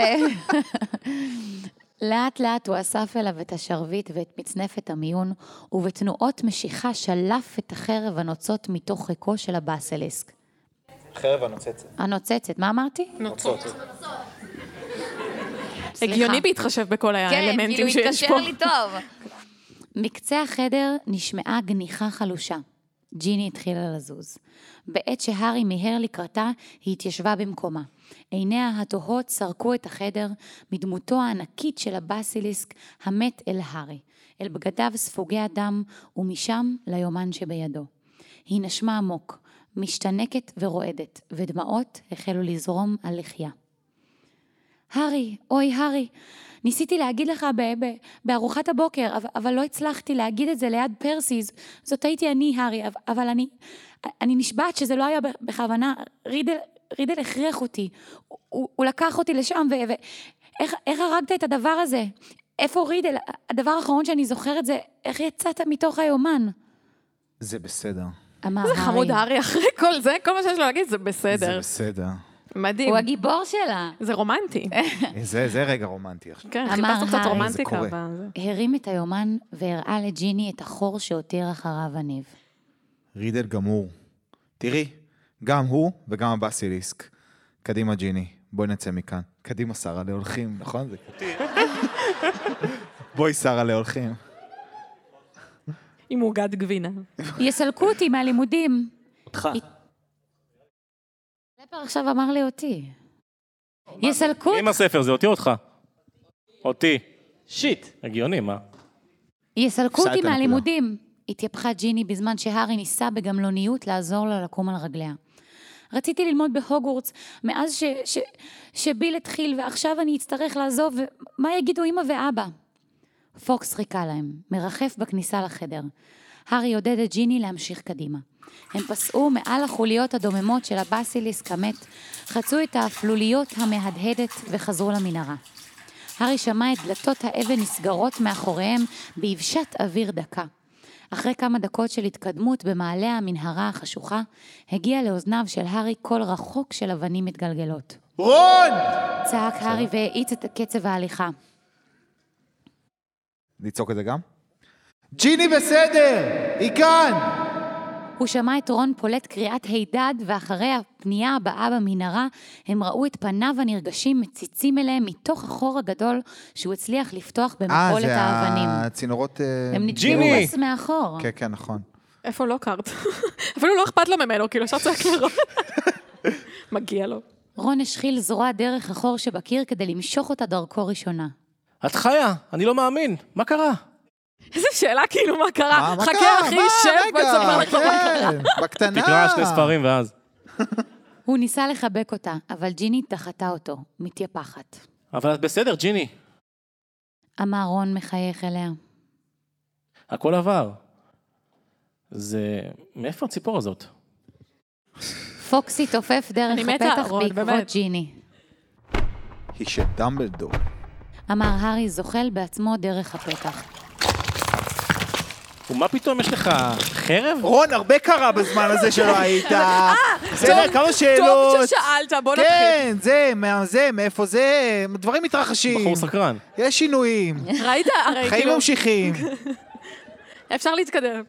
C: *laughs* לאט לאט הוא אסף אליו את השרביט ואת מצנפת המיון, ובתנועות משיכה שלף את החרב הנוצות מתוך חיקו של הבאסליסק.
E: חרב הנוצצת.
C: הנוצצת, מה אמרתי?
B: נוצות. הגיוני בהתחשב בכל
G: כן, כאילו
B: האלמנטים שיש
G: התקשר
B: פה.
G: לי טוב.
C: מקצה החדר נשמעה גניחה חלושה. ג'יני התחילה לזוז. בעת שהארי מיהר לקראתה, היא התיישבה במקומה. עיניה התוהות סרקו את החדר מדמותו הענקית של הבסיליסק המת אל הארי, אל בגדיו ספוגי הדם, ומשם ליומן שבידו. היא נשמה עמוק, משתנקת ורועדת, ודמעות החלו לזרום על לחייה. הארי, אוי הארי, ניסיתי להגיד לך ב- ב- בארוחת הבוקר, אבל, אבל לא הצלחתי להגיד את זה ליד פרסי, ז- זאת הייתי אני, הארי, אבל, אבל אני, אני נשבעת שזה לא היה ב- בכוונה, רידל, רידל הכריח אותי, הוא, הוא, הוא לקח אותי לשם, ו... ו איך, איך הרגת את הדבר הזה? איפה רידל? הדבר האחרון שאני זוכרת זה איך יצאת מתוך היומן.
E: זה בסדר.
C: אמר
B: זה חמוד
C: הארי.
B: הארי אחרי כל זה, כל מה שיש לו להגיד זה בסדר.
E: זה בסדר.
B: מדהים.
C: הוא הגיבור שלה.
B: זה רומנטי.
E: אה, זה זה רגע רומנטי עכשיו.
B: כן,
C: אמר
B: חיפשנו קצת
C: הארי.
B: רומנטיקה.
E: זה
B: ב-
C: הרים את היומן והראה לג'יני את החור שהותיר אחריו הניב.
E: רידל גמור. תראי, גם הוא וגם הבסיליסק. קדימה, ג'יני, בואי נצא מכאן. קדימה, שרה להולכים, נכון? זה *laughs* כתוב. בואי, שרה להולכים.
B: עם עוגת גבינה.
C: יסלקו אותי מהלימודים.
F: אותך.
C: קלפר עכשיו אמר לי אותי. יסלקו
A: עם הספר, זה אותי או אותך? אותי.
F: שיט.
A: הגיוני, מה?
C: יסלקו
E: הפסדת
C: אותי
E: נקודה.
C: מהלימודים! התייפחה ג'יני בזמן שהארי ניסה בגמלוניות לעזור לה לקום על רגליה. רציתי ללמוד בהוגוורטס מאז ש, ש, שביל התחיל, ועכשיו אני אצטרך לעזוב, ומה יגידו אמא ואבא? פוקס חיכה להם, מרחף בכניסה לחדר. הארי עודד את ג'יני להמשיך קדימה. הם פסעו מעל החוליות הדוממות של הבסיליסק המת, חצו את האפלוליות המהדהדת וחזרו למנהרה. הארי שמע את דלתות האבן נסגרות מאחוריהם באבשת אוויר דקה. אחרי כמה דקות של התקדמות במעלה המנהרה החשוכה, הגיע לאוזניו של הארי קול רחוק של אבנים מתגלגלות.
E: רון!
C: צעק הארי והאיץ את קצב ההליכה.
E: לצעוק את זה גם? ג'יני בסדר! היא כאן!
C: הוא שמע את רון פולט קריאת הידד, ואחרי הפנייה הבאה במנהרה, הם ראו את פניו הנרגשים מציצים אליהם מתוך החור הגדול שהוא הצליח לפתוח
E: אה,
C: במפולת
E: זה
C: האבנים.
E: הצינורות... אה,
C: הם
A: ג'יני!
C: נתקעו בס מאחור.
E: כן, כן, נכון.
B: איפה לא קארט? *laughs* אפילו לא אכפת לו ממנו, כאילו, ישר צועק לרון. *laughs* מגיע לו.
C: רון השחיל זרוע דרך החור שבקיר כדי למשוך אותה דרכו ראשונה.
A: את חיה, אני לא מאמין, מה קרה?
B: איזה שאלה, כאילו, מה קרה?
E: אה, מה קרה?
B: חכה, אחי,
E: מה?
B: שב, לא בוא
E: רגע,
B: נספר לך.
E: כן,
B: לא.
E: בקטנה.
A: תקרא שני ספרים ואז.
C: הוא ניסה לחבק אותה, אבל ג'יני דחתה אותו, מתייפחת.
A: אבל את בסדר, ג'יני,
C: אמר רון מחייך אליה.
A: הכל עבר. זה... מאיפה הציפור הזאת?
C: פוקסי תופף דרך
B: אני מתה,
C: הפתח
B: רון,
C: בעקבות
B: באמת.
C: ג'יני.
E: היא של דמבלדור.
C: אמר הארי זוחל בעצמו דרך הפתח.
A: ומה פתאום יש לך חרב?
E: רון, הרבה קרה בזמן הזה שלא היית. בסדר, כמה
B: אה, טוב
E: שאלות.
B: ששאלת, בוא נתחיל.
E: כאילו, כן, זה, מה זה, מאיפה זה, דברים מתרחשים.
A: בחור סקרן.
E: יש *laughs* שינויים.
B: ראית? הרי
E: חיים
B: כאילו,
E: ממשיכים.
B: אפשר להתקדם.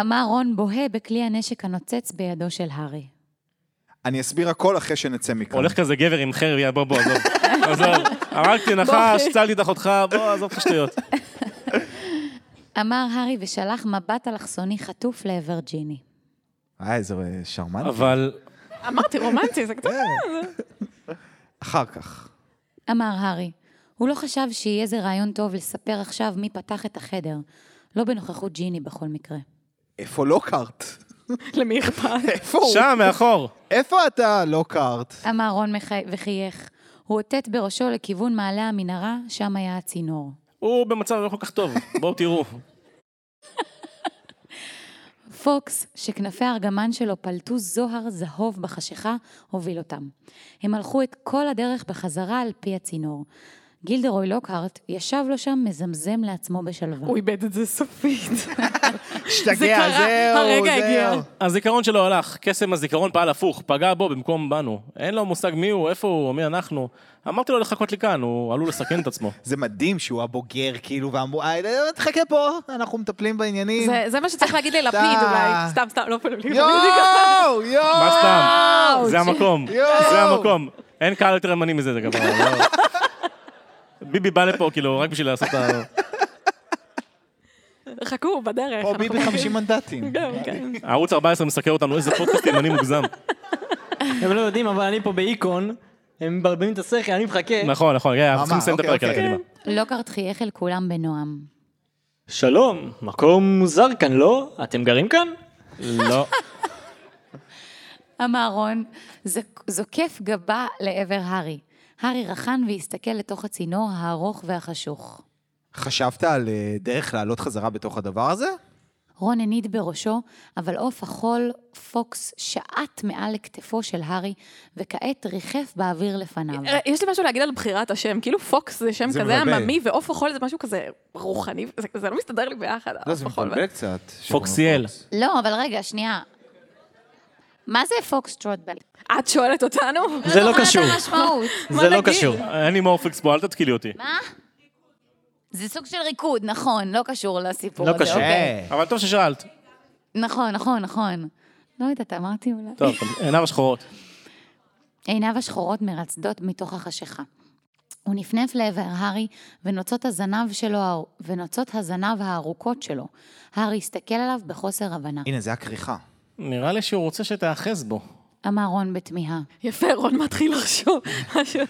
C: אמר רון בוהה בכלי הנשק הנוצץ בידו של הארי.
E: *laughs* אני אסביר הכל אחרי שנצא מכאן.
A: הולך כזה גבר עם חרב, יאללה, בוא, בוא, עזוב. עזוב. הרגתי נחש, צלתי את אחותך, בוא, עזוב את השטויות.
C: אמר הארי ושלח מבט אלכסוני חטוף לעבר ג'יני.
E: אה, איזה אה, שרמן.
A: אבל...
B: אמרתי, רומנטי, זה קצת...
E: כן. אחר כך.
C: אמר הארי. הוא לא חשב שיהיה זה רעיון טוב לספר עכשיו מי פתח את החדר. לא בנוכחות ג'יני בכל מקרה.
E: איפה *laughs* לוקארט?
B: למי אכפת?
E: איפה הוא?
A: שם, מאחור.
E: איפה אתה, לוקארט?
C: אמר רון מחי... וחייך. הוא הוטט בראשו לכיוון מעלה המנהרה, שם היה הצינור.
A: הוא במצב לא כל כך טוב, בואו תראו.
C: פוקס, שכנפי הארגמן שלו פלטו זוהר זהוב בחשיכה, הוביל אותם. הם הלכו את כל הדרך בחזרה על פי הצינור. גילדרוי לוקהרט ישב לו שם מזמזם לעצמו בשלווה.
B: הוא איבד את זה סופית. זה
E: השתגע,
B: קרה,
E: זהו,
B: הרגע הגיע.
E: זהו.
A: הזיכרון שלו הלך, קסם הזיכרון פעל הפוך, פגע בו במקום בנו. אין לו מושג מי הוא, איפה הוא, מי אנחנו. אמרתי לו לחכות לי כאן, הוא עלול לסכן את עצמו.
E: זה מדהים שהוא הבוגר, כאילו, ואמרו, "אה, לא, תחכה פה, אנחנו מטפלים בעניינים. *laughs*
B: זה- זה מה שצריך להגיד ללפיד
E: אתה-
B: אולי. סתם, סתם, לא פנוי.
E: יואו,
A: מה
E: יואו.
A: סתם? זה המקום,
E: יואו.
A: זה המקום. אין קהל יותר ימני מזה, זה כבר... לא. ביבי בא לפה, כאילו, רק בשביל לעשות את ה...
B: חכו, הוא בדרך.
E: או
B: אנחנו
E: ביבי 50 *laughs* מנדטים.
B: גם, *laughs* כן.
A: ערוץ 14 מסקר אותנו, איזה פודקאסט ימני מוגזם.
F: הם לא יודעים, אבל אני פה באיקון, הם מברברים את השכל, אני מחכה.
A: נכון, נכון, רגע, אנחנו
E: ממש,
A: צריכים לסיים את
E: אוקיי,
A: הפרק הזה,
E: אוקיי.
A: קדימה.
C: לוקהרט חייך אל כולם בנועם.
F: שלום, מקום מוזר כאן, לא? אתם גרים כאן?
A: לא.
C: אמר רון, זק- זוקף גבה לעבר הארי. הארי רחן והסתכל לתוך הצינור הארוך והחשוך.
E: חשבת על אה, דרך לעלות חזרה בתוך הדבר הזה?
C: רון הניד בראשו, אבל עוף החול, פוקס, שעט מעל לכתפו של הארי, וכעת ריחף באוויר לפניו.
B: אה, יש לי משהו להגיד על בחירת השם. כאילו פוקס זה שם
E: זה
B: כזה
E: מבלבל.
B: עממי, ועוף החול זה משהו כזה רוחני, זה- זה לא מסתדר לי ביחד. העוף החול וה-
E: קצת.
A: פוקסיאל.
C: לא, אבל רגע, שנייה. מה זה פוקסטרוטבל?
B: את שואלת אותנו?
F: זה לא קשור. *laughs*
G: משמעות.
F: זה לא
B: נגיד?
F: קשור.
A: אין לי מורפיקס פה, אל תתקילי אותי.
G: מה?
C: זה סוג של ריקוד, נכון, לא קשור לסיפור
F: לא
C: הזה.
F: קשור.
C: אוקיי.
A: אבל טוב ששאלת.
C: נכון, נכון, נכון. לא יודעת, אמרתי אולי.
A: טוב, עיניו השחורות.
C: עיניו השחורות מרצדות מתוך החשיכה. הוא נפנף לעבר הארי, ונוצות הזנב שלו, ונוצות הזנב הארוכות שלו. הארי הסתכל עליו בחוסר הבנה.
E: הנה, זה הכריכה.
A: נראה לי שהוא רוצה שתאחז בו.
C: אמר רון בתמיהה.
B: יפה, רון מתחיל לחשוב. משהו.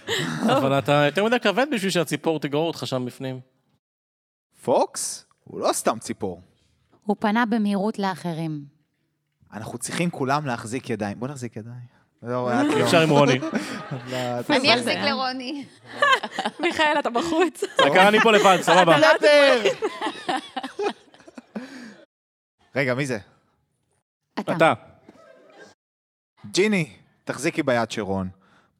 A: *laughs* אבל אתה יותר מדי כבד בשביל שהציפור תגרור אותך שם בפנים.
E: פוקס? הוא לא סתם ציפור.
C: הוא פנה במהירות לאחרים.
E: אנחנו צריכים כולם להחזיק ידיים. בוא נחזיק ידיים. לא, את לא.
A: אי אפשר עם *laughs* רוני.
E: את לא.
G: אני אחזיק לרוני.
B: *laughs* מיכאל, אתה בחוץ.
A: דקה אני פה לבד, סבבה.
B: לא
E: בסדר. *laughs* רגע, מי זה?
C: אתה.
A: אתה.
E: ג'יני, תחזיקי ביד של רון.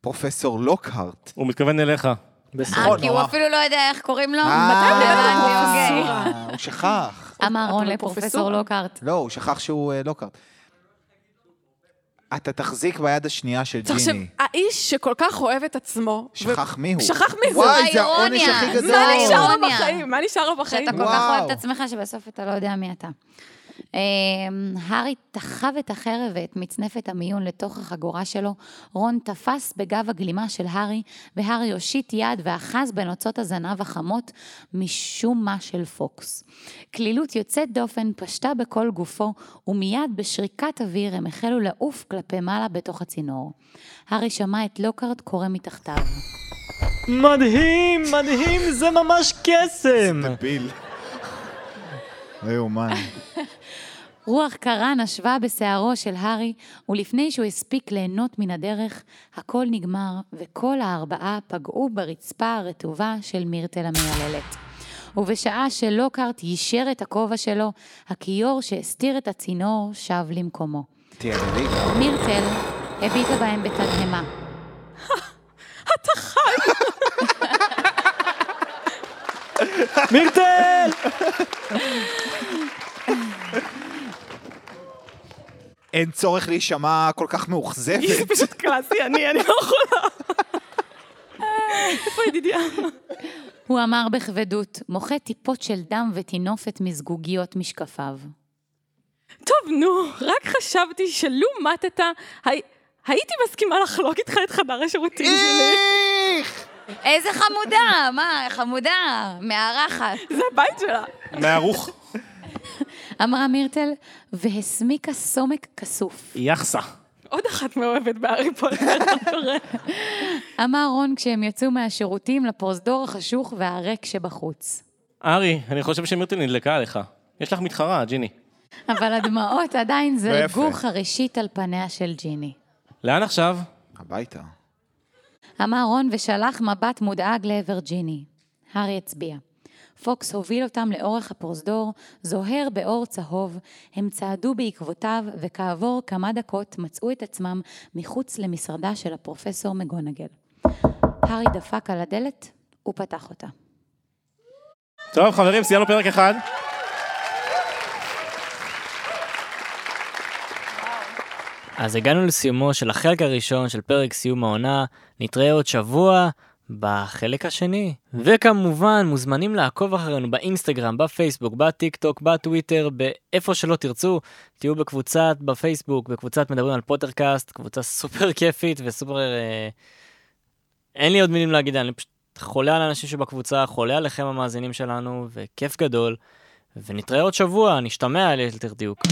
E: פרופסור לוקהרט.
A: הוא מתכוון אליך.
E: בסדר,
B: נכון.
G: אה, כי הוא אפילו לא יודע איך קוראים לו?
E: אה,
G: הבנתי,
B: כן.
G: אוקיי.
E: אה, הוא שכח.
C: אמר רון
B: אבל
C: לפרופסור
B: פרופסור?
C: לוקארט.
E: לא, הוא שכח שהוא אה, לוקארט. אתה תחזיק ביד השנייה של
B: תחשב,
E: ג'יני.
B: האיש שכל כך אוהב את עצמו...
E: שכח מי הוא.
B: שכח מי זה.
E: וואי, זה העונש
G: האירוניה.
E: הכי גדול.
B: מה נשאר לו
G: אירוניה.
B: בחיים? מה נשאר לו בחיים?
G: שאתה כל כך
E: וואו.
G: אוהב את עצמך, שבסוף אתה לא יודע מי אתה. אמ, הארי תחב את החרב ואת מצנפת המיון לתוך החגורה שלו. רון תפס בגב הגלימה של הארי, והארי הושיט יד ואחז בנוצות הזנב החמות משום מה של פוקס. כלילות יוצאת דופן פשטה בכל גופו, ומיד בשריקת אוויר הם החלו לעוף כלפי מעלה בתוך הצינור. הארי שמע את לוקארד קורא מתחתיו.
F: מדהים, מדהים, זה ממש
B: *laughs*
F: קסם!
E: דביל. לא יאומן.
C: רוח קרה נשבה בשערו של הארי, ולפני שהוא הספיק ליהנות מן הדרך, הכל נגמר, וכל הארבעה פגעו ברצפה הרטובה של מירטל המייללת. ובשעה שלוקארט יישר את הכובע שלו, הכיור שהסתיר את הצינור שב למקומו.
E: תהיה דביל.
C: מירטל הביטה בהם בתדהמה.
F: מירטל!
E: אין צורך להישמע כל כך
B: זה
F: *laughs*
E: מאוכזבת.
B: פשוט קלאסי, אני, אני לא יכולה. איפה ידידיה? *laughs*
C: הוא אמר בכבדות, מוחה טיפות של דם וטינופת מזגוגיות משקפיו.
B: טוב, נו, רק חשבתי שלו מתת, הי... הייתי מסכימה לחלוק איתך את חדר השירותים
G: אה!
B: שלי. *laughs*
E: איך!
G: איזה חמודה, מה, חמודה, מארחת.
B: זה הבית שלה.
A: מהערוך.
C: אמרה מירטל, והסמיקה סומק כסוף.
A: יחסה.
B: עוד אחת מאוהבת בהארי פוטר.
G: *laughs*
C: אמר רון כשהם יצאו מהשירותים לפרוזדור החשוך והריק שבחוץ.
A: ארי, אני חושב שמירטל נדלקה עליך. יש לך מתחרה, ג'יני.
C: אבל הדמעות עדיין זלגו
E: יפה.
C: חרישית על פניה של ג'יני.
A: לאן עכשיו?
E: הביתה.
C: אמר רון ושלח מבט מודאג לעבר ג'יני. הארי הצביע. פוקס הוביל אותם לאורך הפרוזדור, זוהר באור צהוב, הם צעדו בעקבותיו, וכעבור כמה דקות מצאו את עצמם מחוץ למשרדה של הפרופסור מגונגל. הארי דפק על הדלת, ופתח אותה.
A: טוב, חברים, סיימנו פרק אחד.
F: אז הגענו לסיומו של החלק הראשון של פרק סיום העונה, נתראה עוד שבוע בחלק השני. וכמובן, מוזמנים לעקוב אחרינו באינסטגרם, בפייסבוק, בטיק טוק, בטוויטר, באיפה שלא תרצו, תהיו בקבוצת, בפייסבוק, בקבוצת מדברים על פוטרקאסט, קבוצה סופר כיפית וסופר... אה... אין לי עוד מילים להגיד, אני פשוט חולה על האנשים שבקבוצה, חולה עליכם המאזינים שלנו, וכיף גדול. ונתראה עוד שבוע, נשתמע ליתר דיוק.